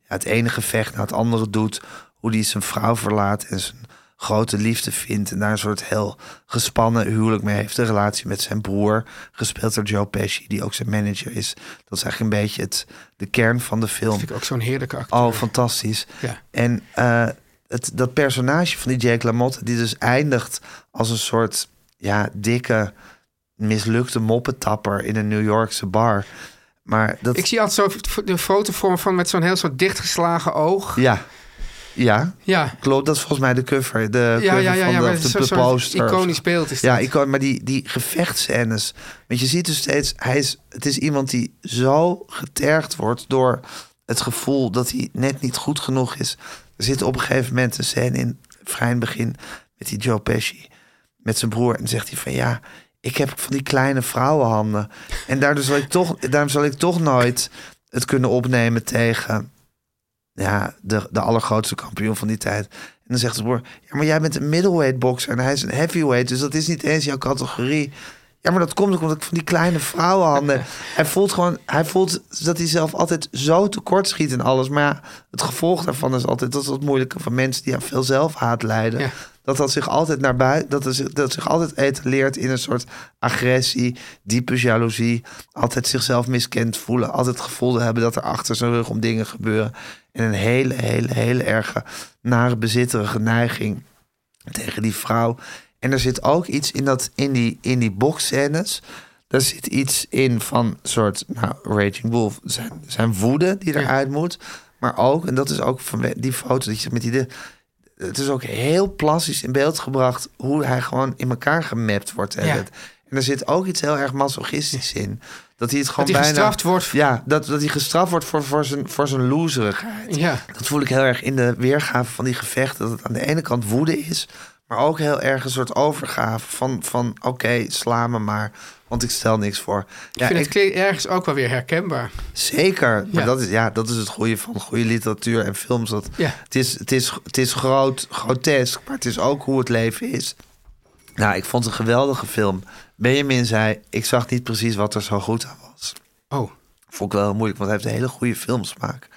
A: het ene gevecht naar het andere doet. Hoe die zijn vrouw verlaat en zijn grote liefde vindt. En daar een soort heel gespannen huwelijk mee heeft. De relatie met zijn broer, gespeeld door Joe Pesci, die ook zijn manager is. Dat is eigenlijk een beetje het, de kern van de film.
B: Dat vind ik ook zo'n heerlijke acteur.
A: Oh, fantastisch.
B: Ja.
A: En eh, het, dat personage van die Jake LaMotte, die dus eindigt als een soort ja, dikke, mislukte moppetapper in een New Yorkse bar. Maar dat...
B: Ik zie altijd zo de foto voor me van met zo'n heel soort dichtgeslagen oog.
A: Ja. Ja.
B: Ja.
A: Klopt, dat is volgens mij de cover. De
B: Ja,
A: cover
B: ja, ja,
A: van
B: ja,
A: de,
B: maar
A: of
B: het is
A: de,
B: zo'n soort
A: poster of zo.
B: iconisch beeld is
A: Ja,
B: dat.
A: icon, maar die, die gevechtsscènes. Want je ziet dus steeds, hij is, het is iemand die zo getergd wordt door het gevoel dat hij net niet goed genoeg is. Er zit op een gegeven moment een scène in, vrij in het begin, met die Joe Pesci. Met zijn broer. En dan zegt hij van ja, ik heb van die kleine vrouwenhanden. En daardoor zal ik toch, daarom zal ik toch nooit het kunnen opnemen tegen ja, de, de allergrootste kampioen van die tijd. En dan zegt de broer, ja, maar jij bent een middleweight boxer en hij is een heavyweight, dus dat is niet eens jouw categorie. Ja, maar dat komt ook omdat ik van die kleine vrouwenhanden. Hij voelt gewoon, hij voelt dat hij zelf altijd zo tekort schiet en alles. Maar ja, het gevolg daarvan is altijd, dat is het moeilijke van mensen die aan veel zelfhaat lijden.
B: Ja.
A: Dat dat zich altijd naar buiten, dat, er zich- dat zich altijd etaleert in een soort agressie, diepe jaloezie. Altijd zichzelf miskend voelen. Altijd het gevoel te hebben dat er achter zijn rug om dingen gebeuren. En een hele, hele, hele erge nare bezitterige neiging tegen die vrouw. En er zit ook iets in, dat, in die, in die boxscènes. Daar zit iets in van soort, nou, Raging Wolf, zijn, zijn woede die eruit moet. Maar ook, en dat is ook van die foto die je met die... de- het is ook heel plastisch in beeld gebracht hoe hij gewoon in elkaar gemapt wordt. de hele
B: Ja.
A: tijd. En er zit ook iets heel erg masochistisch in. Dat hij het gewoon
B: Dat hij
A: bijna...
B: gestraft wordt.
A: Ja, dat, dat hij gestraft wordt voor, voor, zijn, voor zijn loserigheid.
B: Ja.
A: Dat voel ik heel erg in de weergave van die gevechten. Dat het aan de ene kant woede is, maar ook heel erg een soort overgave van, van oké, sla me maar, want ik stel niks voor. Ja,
B: ik vind
A: ik-
B: het klinkt ergens ook wel weer herkenbaar.
A: zeker. Maar
B: Ja.
A: dat, is, ja, dat is het goede van goede literatuur en films. Dat,
B: Ja.
A: het, is, het, is, het is groot, grotesk, maar het is ook hoe het leven is. Nou, ik vond het een geweldige film. Benjamin zei, ik zag niet precies wat er zo goed aan was.
B: Oh,
A: Vond ik wel heel moeilijk, want hij heeft een hele goede filmsmaak.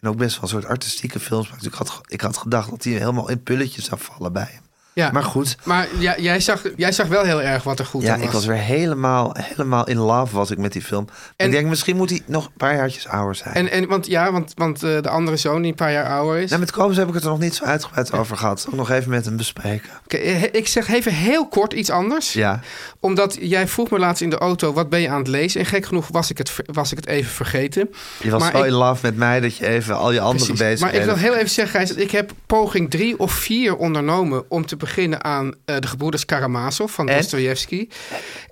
A: En ook best wel een soort artistieke filmsmaak. Dus ik had, ge- ik had gedacht dat hij helemaal in pulletjes zou vallen bij hem.
B: ja.
A: Maar goed,
B: Maar ja, jij, zag, jij zag wel heel erg wat er goed
A: ja,
B: aan was.
A: ik was weer helemaal, helemaal in love was ik met die film. En ik denk, misschien moet hij nog een paar jaartjes ouder zijn.
B: En, en, want ja, want, want eh, de andere zoon die een paar jaar ouder is.
A: nou, met Kobus heb ik het er nog niet zo uitgebreid over gehad. Ook nog even met hem bespreken.
B: Oké, eh, ik zeg even heel kort iets anders.
A: Ja,
B: Omdat jij vroeg me laatst in de auto, wat ben je aan het lezen? En gek genoeg was ik het, ver- was ik het even vergeten.
A: je was
B: Maar
A: zo
B: ik-
A: in love met mij dat je even al je andere
B: Precies.
A: bezigheden...
B: Maar ik wil heel even zeggen, Gijs, dat ik heb poging drie of vier ondernomen om te beginnen aan eh, de gebroeders Karamazov van
A: En?
B: Dostoevsky.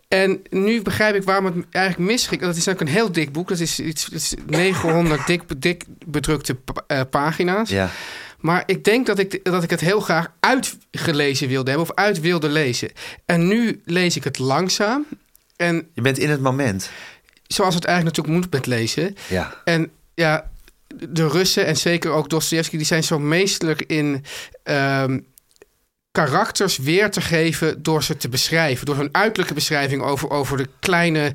B: En nu begrijp ik waarom het eigenlijk misging. Dat is ook een heel dik boek. Dat is iets dat is 900 dik, dik bedrukte pa- eh, pagina's.
A: Ja,
B: Maar ik denk dat ik, dat ik het heel graag uitgelezen wilde hebben of uit wilde lezen. En nu lees ik het langzaam. En
A: je bent in het moment.
B: zoals het eigenlijk natuurlijk moet met lezen.
A: Ja.
B: En ja, de Russen en zeker ook Dostoevsky, die zijn zo meesterlijk in ehm, karakters weer te geven door ze te beschrijven. Door hun uiterlijke beschrijving over, over de kleine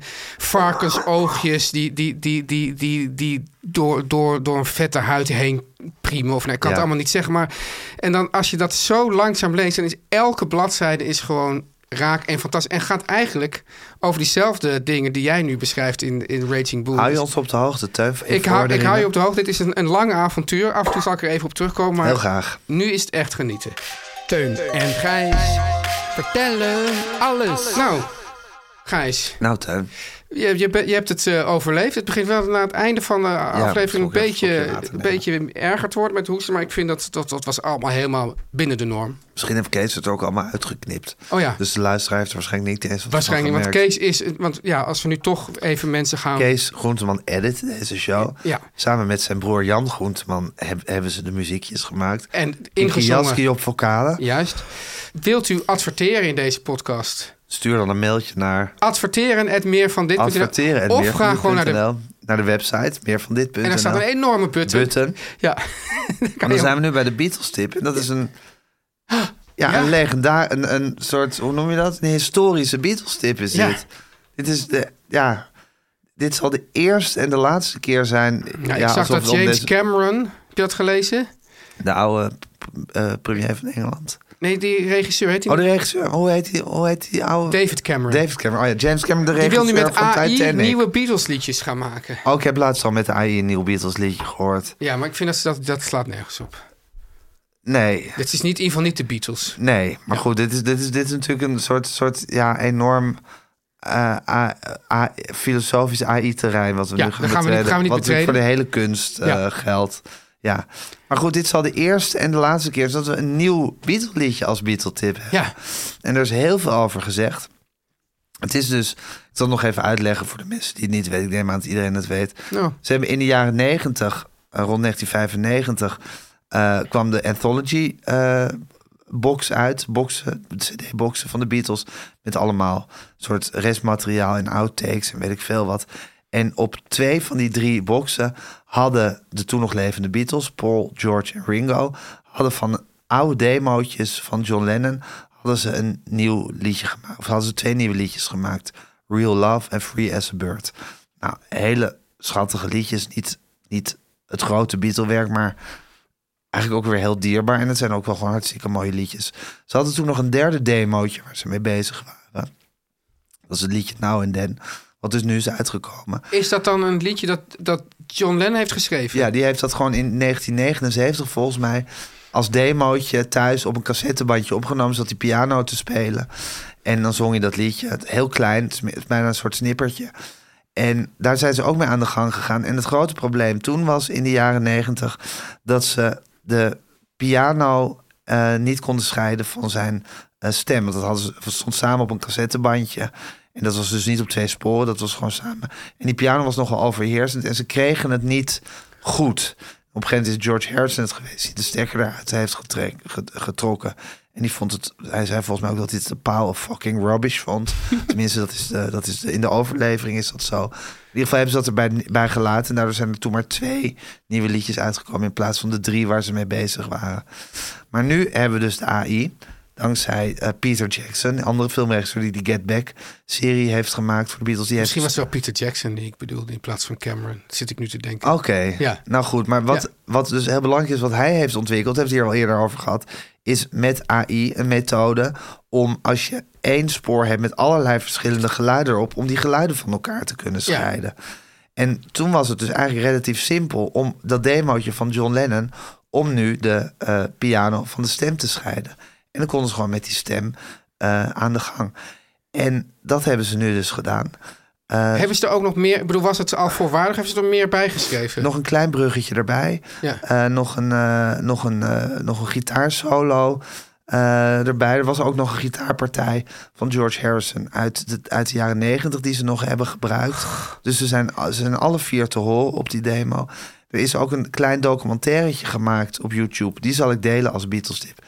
B: varkensoogjes die, die, die, die, die, die door, door, door een vette huid heen priemen. Of nee, ik kan
A: Ja.
B: het allemaal niet zeggen. Maar, en dan als je dat zo langzaam leest, dan is elke bladzijde is gewoon raak en fantastisch. En gaat eigenlijk over diezelfde dingen die jij nu beschrijft in, in Raging Bull.
A: Hou
B: Dus-
A: je ons op de hoogte, Teun? van je
B: ik hou, ik hou je
A: vorderingen?
B: op de hoogte. Dit is een, een lang avontuur. Af en toe zal ik er even op terugkomen. Maar
A: Heel graag.
B: nu is het echt genieten.
D: Teun en Gijs vertellen alles.
B: Nou, Gijs,
A: Nou, Teun.
B: je, je, be- je hebt het eh, overleefd. Het begint wel na het einde van de
A: dat
B: aflevering
A: vond
B: een
A: ik even goed,
B: beetje,
A: ja, laten
B: een
A: we
B: beetje erger te worden met hoesten. Maar ik vind dat, dat dat was allemaal helemaal binnen de norm.
A: Misschien heeft Kees het ook allemaal uitgeknipt.
B: Oh ja.
A: Dus de luisteraar heeft er waarschijnlijk niet eens wat
B: Waarschijnlijk,
A: van
B: want
A: gemerkt.
B: Kees is... Want ja, als we nu toch even mensen gaan...
A: Kees Groenteman edit deze show.
B: Ja.
A: Samen met zijn broer Jan Groenteman heb- hebben ze de muziekjes gemaakt.
B: En
A: Nicky
B: ingezongen.
A: Jaski op vocalen.
B: Juist. Wilt u adverteren in deze podcast?
A: Stuur dan een mailtje naar
B: Adverteren het meer van dit.
A: adverteren. en
B: Of
A: meer van
B: ga gewoon naar de...
A: dit.nl. naar de website meer van dit
B: En daar staat een enorme button.
A: button.
B: Ja. <laughs>
A: En dan zijn we nu bij de Beatles tip. En dat is een, ja,
B: Ja.
A: een legendaar, een, een soort, hoe noem je dat? Een historische Beatles tip is
B: Ja.
A: dit. Dit is de, ja, dit zal de eerste en de laatste keer zijn.
B: Ja, ik
A: ja,
B: zag
A: alsof
B: dat
A: het om
B: James
A: deze-
B: Cameron, heb je dat gelezen?
A: de oude eh, premier van Engeland.
B: Nee, die regisseur heet hij
A: Oh, de regisseur. Hoe heet die, hoe heet die oude?
B: David Cameron.
A: David Cameron. Oh ja, James Cameron, de
B: die wil
A: regisseur
B: nu met
A: van
B: AI
A: Titanic.
B: nieuwe Beatles liedjes gaan maken.
A: Oh, ik heb laatst al met de AI een nieuw Beatles liedje gehoord.
B: Ja, maar ik vind dat ze dat, dat slaat nergens op.
A: Nee,
B: Dit is niet, in ieder geval niet de Beatles.
A: nee. Maar goed, dit is, dit is, dit is natuurlijk een soort, soort ja, enorm eh, A- A- filosofisch AI-terrein wat we
B: Ja,
A: nu gaan
B: dat gaan we
A: betreden.
B: niet- gaan we niet
A: wat natuurlijk voor de
B: betreden.
A: hele kunst eh,
B: Ja.
A: geldt. Ja. Maar goed, dit zal de eerste en de laatste keer zijn dat we een nieuw Beatle-liedje als Beatle-tip hebben.
B: Ja.
A: En er is heel veel over gezegd. Het is dus, ik zal het nog even uitleggen voor de mensen die het niet weten. Ik neem aan dat iedereen het weet.
B: Nou.
A: Ze hebben in de jaren 90, eh, rond 1995, eh, kwam de Anthology eh, box uit. Boxen, CD-boxen van de Beatles. Met allemaal soort restmateriaal en outtakes en weet ik veel wat. En op twee van die drie boxen hadden de toen nog levende Beatles, Paul, George en Ringo, hadden van oude demootjes van John Lennon hadden ze een nieuw liedje gemaakt. Of hadden ze twee nieuwe liedjes gemaakt. Real Love en Free as a Bird. Nou, hele schattige liedjes. Niet, niet het grote Beatle-werk, maar eigenlijk ook weer heel dierbaar. En het zijn ook wel gewoon hartstikke mooie liedjes. Ze hadden toen nog een derde demootje waar ze mee bezig waren. Dat is het liedje Now and Then. Wat dus nu is uitgekomen.
B: Is dat dan een liedje dat, dat John Lennon heeft geschreven?
A: Ja, die heeft dat gewoon in 1979 volgens mij als demootje thuis op een cassettebandje opgenomen, zat die piano te spelen. En dan zong je dat liedje, Het- heel klein, het is me- het is bijna een soort snippertje. En daar zijn ze ook mee aan de gang gegaan. En het grote probleem toen was in de jaren 90 dat ze de piano eh, niet konden scheiden van zijn eh, stem. Want dat hadden ze, dat stond samen op een cassettebandje. En dat was dus niet op twee sporen, dat was gewoon samen. En die piano was nogal overheersend en ze kregen het niet goed. Op een gegeven moment is George Harrison het geweest die de stekker eruit heeft getrek- ge- getrokken. En die vond het, hij zei volgens mij ook dat hij het de paal of fucking rubbish vond. Tenminste, dat is de, dat is de, in de overlevering is dat zo. In ieder geval hebben ze dat erbij bij gelaten. En daardoor zijn er toen maar twee nieuwe liedjes uitgekomen in plaats van de drie waar ze mee bezig waren. Maar nu hebben we dus de AI. Dankzij eh, Peter Jackson, een andere filmregisseur die die Get Back serie heeft gemaakt voor de Beatles. Die
B: Misschien
A: heeft
B: was het wel Peter Jackson die ik bedoelde in plaats van Cameron. Dat zit ik nu te denken.
A: Oké,
B: Ja.
A: nou goed. Maar wat,
B: Ja.
A: wat dus heel belangrijk is, wat hij heeft ontwikkeld, hebben we het hier al eerder over gehad, is met AI een methode om als je één spoor hebt met allerlei verschillende geluiden erop, om die geluiden van elkaar te kunnen
B: Ja.
A: scheiden. En toen was het dus eigenlijk relatief simpel om dat demootje van John Lennon, om nu de eh, piano van de stem te scheiden. En dan konden ze gewoon met die stem eh, aan de gang. En dat hebben ze nu dus gedaan. Eh.
B: Hebben ze er ook nog meer... Ik bedoel, was het al voorwaardig? Hebben ze er meer bij geschreven?
A: Nog een klein bruggetje erbij.
B: Ja.
A: Eh, nog, een, eh, nog, een, eh, nog een gitaarsolo eh, erbij. Er was ook nog een gitaarpartij van George Harrison uit de, uit de jaren negentig die ze nog hebben gebruikt. Dus ze zijn, ze zijn alle vier te horen op die demo. Er is ook een klein documentairetje gemaakt op YouTube. Die zal ik delen als Beatles tip.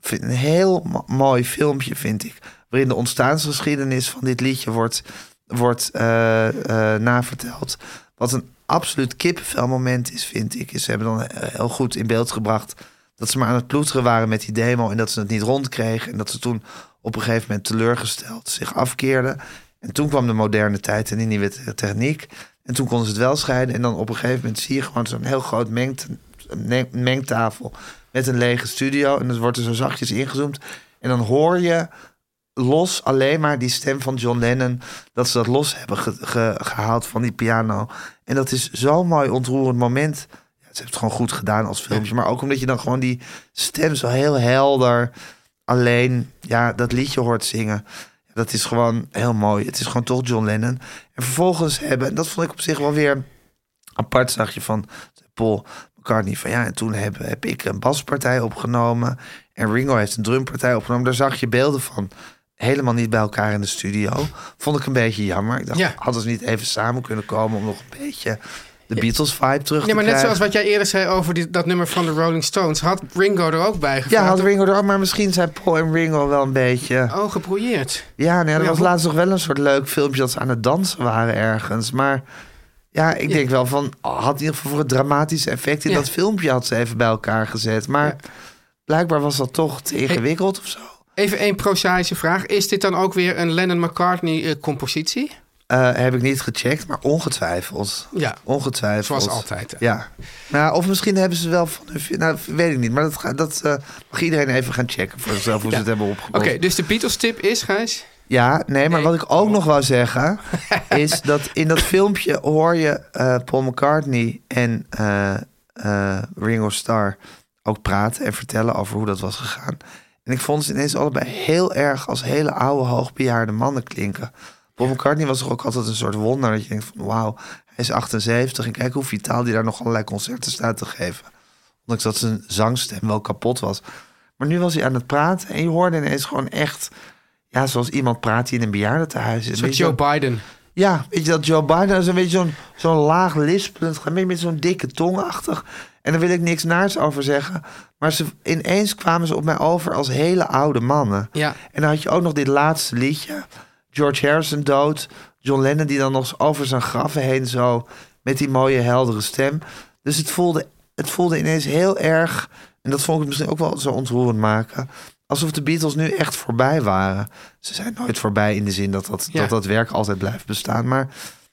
A: Vind- Een heel mo- mooi filmpje vind ik. Waarin de ontstaansgeschiedenis van dit liedje wordt, wordt eh, eh, naverteld. Wat een absoluut kippenvelmoment is, vind ik. Is, ze hebben dan eh, heel goed in beeld gebracht dat ze maar aan het ploeteren waren met die demo en dat ze het niet rondkregen. En dat ze toen op een gegeven moment teleurgesteld zich afkeerden. En toen kwam de moderne tijd en die nieuwe te- techniek. En toen konden ze het wel scheiden. En dan op een gegeven moment zie je gewoon zo'n heel groot mengt, ne- mengtafel met een lege studio. En dat wordt er zo zachtjes ingezoomd. En dan hoor je los alleen maar die stem van John Lennon. Dat ze dat los hebben ge- ge- gehaald van die piano. En dat is zo'n mooi ontroerend moment. Ja, ze hebben het gewoon goed gedaan als filmpje. Maar ook omdat je dan gewoon die stem zo heel helder alleen ja, dat liedje hoort zingen. Dat is gewoon heel mooi. Het is gewoon toch John Lennon. En vervolgens hebben, en dat vond ik op zich wel weer apart, zag je van Paul McCartney. Van ja, en toen heb, heb ik een baspartij opgenomen. En Ringo heeft een drumpartij opgenomen. Daar zag je beelden van. Helemaal niet bij elkaar in de studio. Vond ik een beetje jammer. Ik dacht,
B: Ja.
A: hadden ze niet even samen kunnen komen om nog een beetje de Beatles-vibe terug
B: Nee, maar
A: te
B: net
A: krijgen?
B: zoals wat jij eerder zei over die, dat nummer van de Rolling Stones... had Ringo er ook bij gevraagd.
A: Ja, had Ringo er ook, maar misschien zijn Paul en Ringo wel een beetje...
B: Oh, gebrouilleerd.
A: Ja, nee, er
B: Ja,
A: was
B: hoe-
A: laatst nog wel een soort leuk filmpje dat ze aan het dansen waren ergens. Maar ja, ik denk wel van, oh, had in ieder geval voor het dramatische effect in
B: Ja.
A: dat filmpje had ze even bij elkaar gezet. Maar blijkbaar was dat toch te ingewikkeld of zo.
B: Even één prozaïsche vraag. Is dit dan ook weer een Lennon-McCartney-compositie?
A: Eh, heb ik niet gecheckt, maar ongetwijfeld.
B: Ja.
A: Ongetwijfeld.
B: Zoals altijd, hè.
A: Ja. Nou, of misschien hebben ze wel van hun... Nou, weet ik niet. Maar dat, ga- dat eh, mag iedereen even gaan checken voor zichzelf hoe ze
B: Ja.
A: het hebben
B: Oké,
A: opgelost.
B: dus de Beatles-tip is, Gijs...
A: Ja, nee, maar wat ik ook nog wou zeggen... is dat in dat filmpje hoor je eh, Paul McCartney en eh, eh, Ringo Starr... ook praten en vertellen over hoe dat was gegaan. En ik vond ze ineens allebei heel erg als hele oude, hoogbejaarde mannen klinken. Paul McCartney was toch ook altijd een soort wonder. Dat je denkt van wauw, hij is 78 en kijk hoe vitaal die daar nog allerlei concerten staat te geven. Ondanks dat zijn zangstem wel kapot was. Maar nu was hij aan het praten en je hoorde ineens gewoon echt... Ja, zoals iemand praat die in een bejaardentehuis is.
B: Een
A: Weet
B: soort
A: je
B: Joe
A: wel-
B: Biden.
A: ja, weet je dat Joe Biden is een beetje zo'n zo'n laag lispelend, gemeen met zo'n dikke tongachtig. En daar wil ik niks naars over zeggen. Maar ze, ineens kwamen ze op mij over als hele oude mannen.
B: Ja.
A: En dan had je ook nog dit laatste liedje. George Harrison dood. John Lennon die dan nog over zijn graven heen zo... met die mooie heldere stem. Dus het voelde, het voelde ineens heel erg... en dat vond ik het misschien ook wel zo ontroerend maken... alsof de Beatles nu echt voorbij waren. Ze zijn nooit voorbij in de zin dat dat,
B: Ja.
A: dat, dat werk altijd blijft bestaan. Maar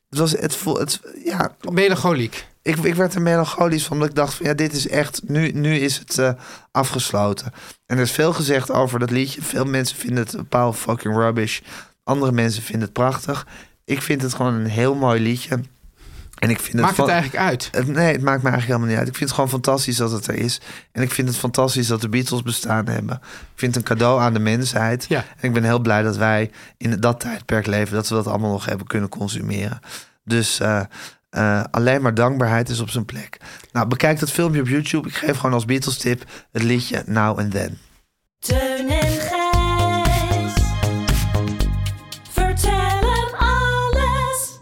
A: het was... Het voel, het, ja,
B: Melancholiek.
A: ik, ik werd er melancholisch van, omdat ik dacht van ja, dit is echt, nu, nu is het eh, afgesloten. En er is veel gezegd over dat liedje. Veel mensen vinden het een paal fucking rubbish. Andere mensen vinden het prachtig. Ik vind het gewoon een heel mooi liedje. En ik vind het,
B: Maakt het
A: van-
B: eigenlijk uit?
A: het- Nee, het maakt me eigenlijk helemaal niet uit. Ik vind het gewoon fantastisch dat het er is. En ik vind het fantastisch dat de Beatles bestaan hebben. Ik vind het een cadeau aan de mensheid.
B: Ja.
A: En ik ben heel blij dat wij in dat tijdperk leven... dat we dat allemaal nog hebben kunnen consumeren. Dus eh, eh, alleen maar dankbaarheid is op zijn plek. Nou, bekijk dat filmpje op YouTube. Ik geef gewoon als Beatles tip het liedje Now and Then.
E: Teun en Gijs. Vertel hem alles.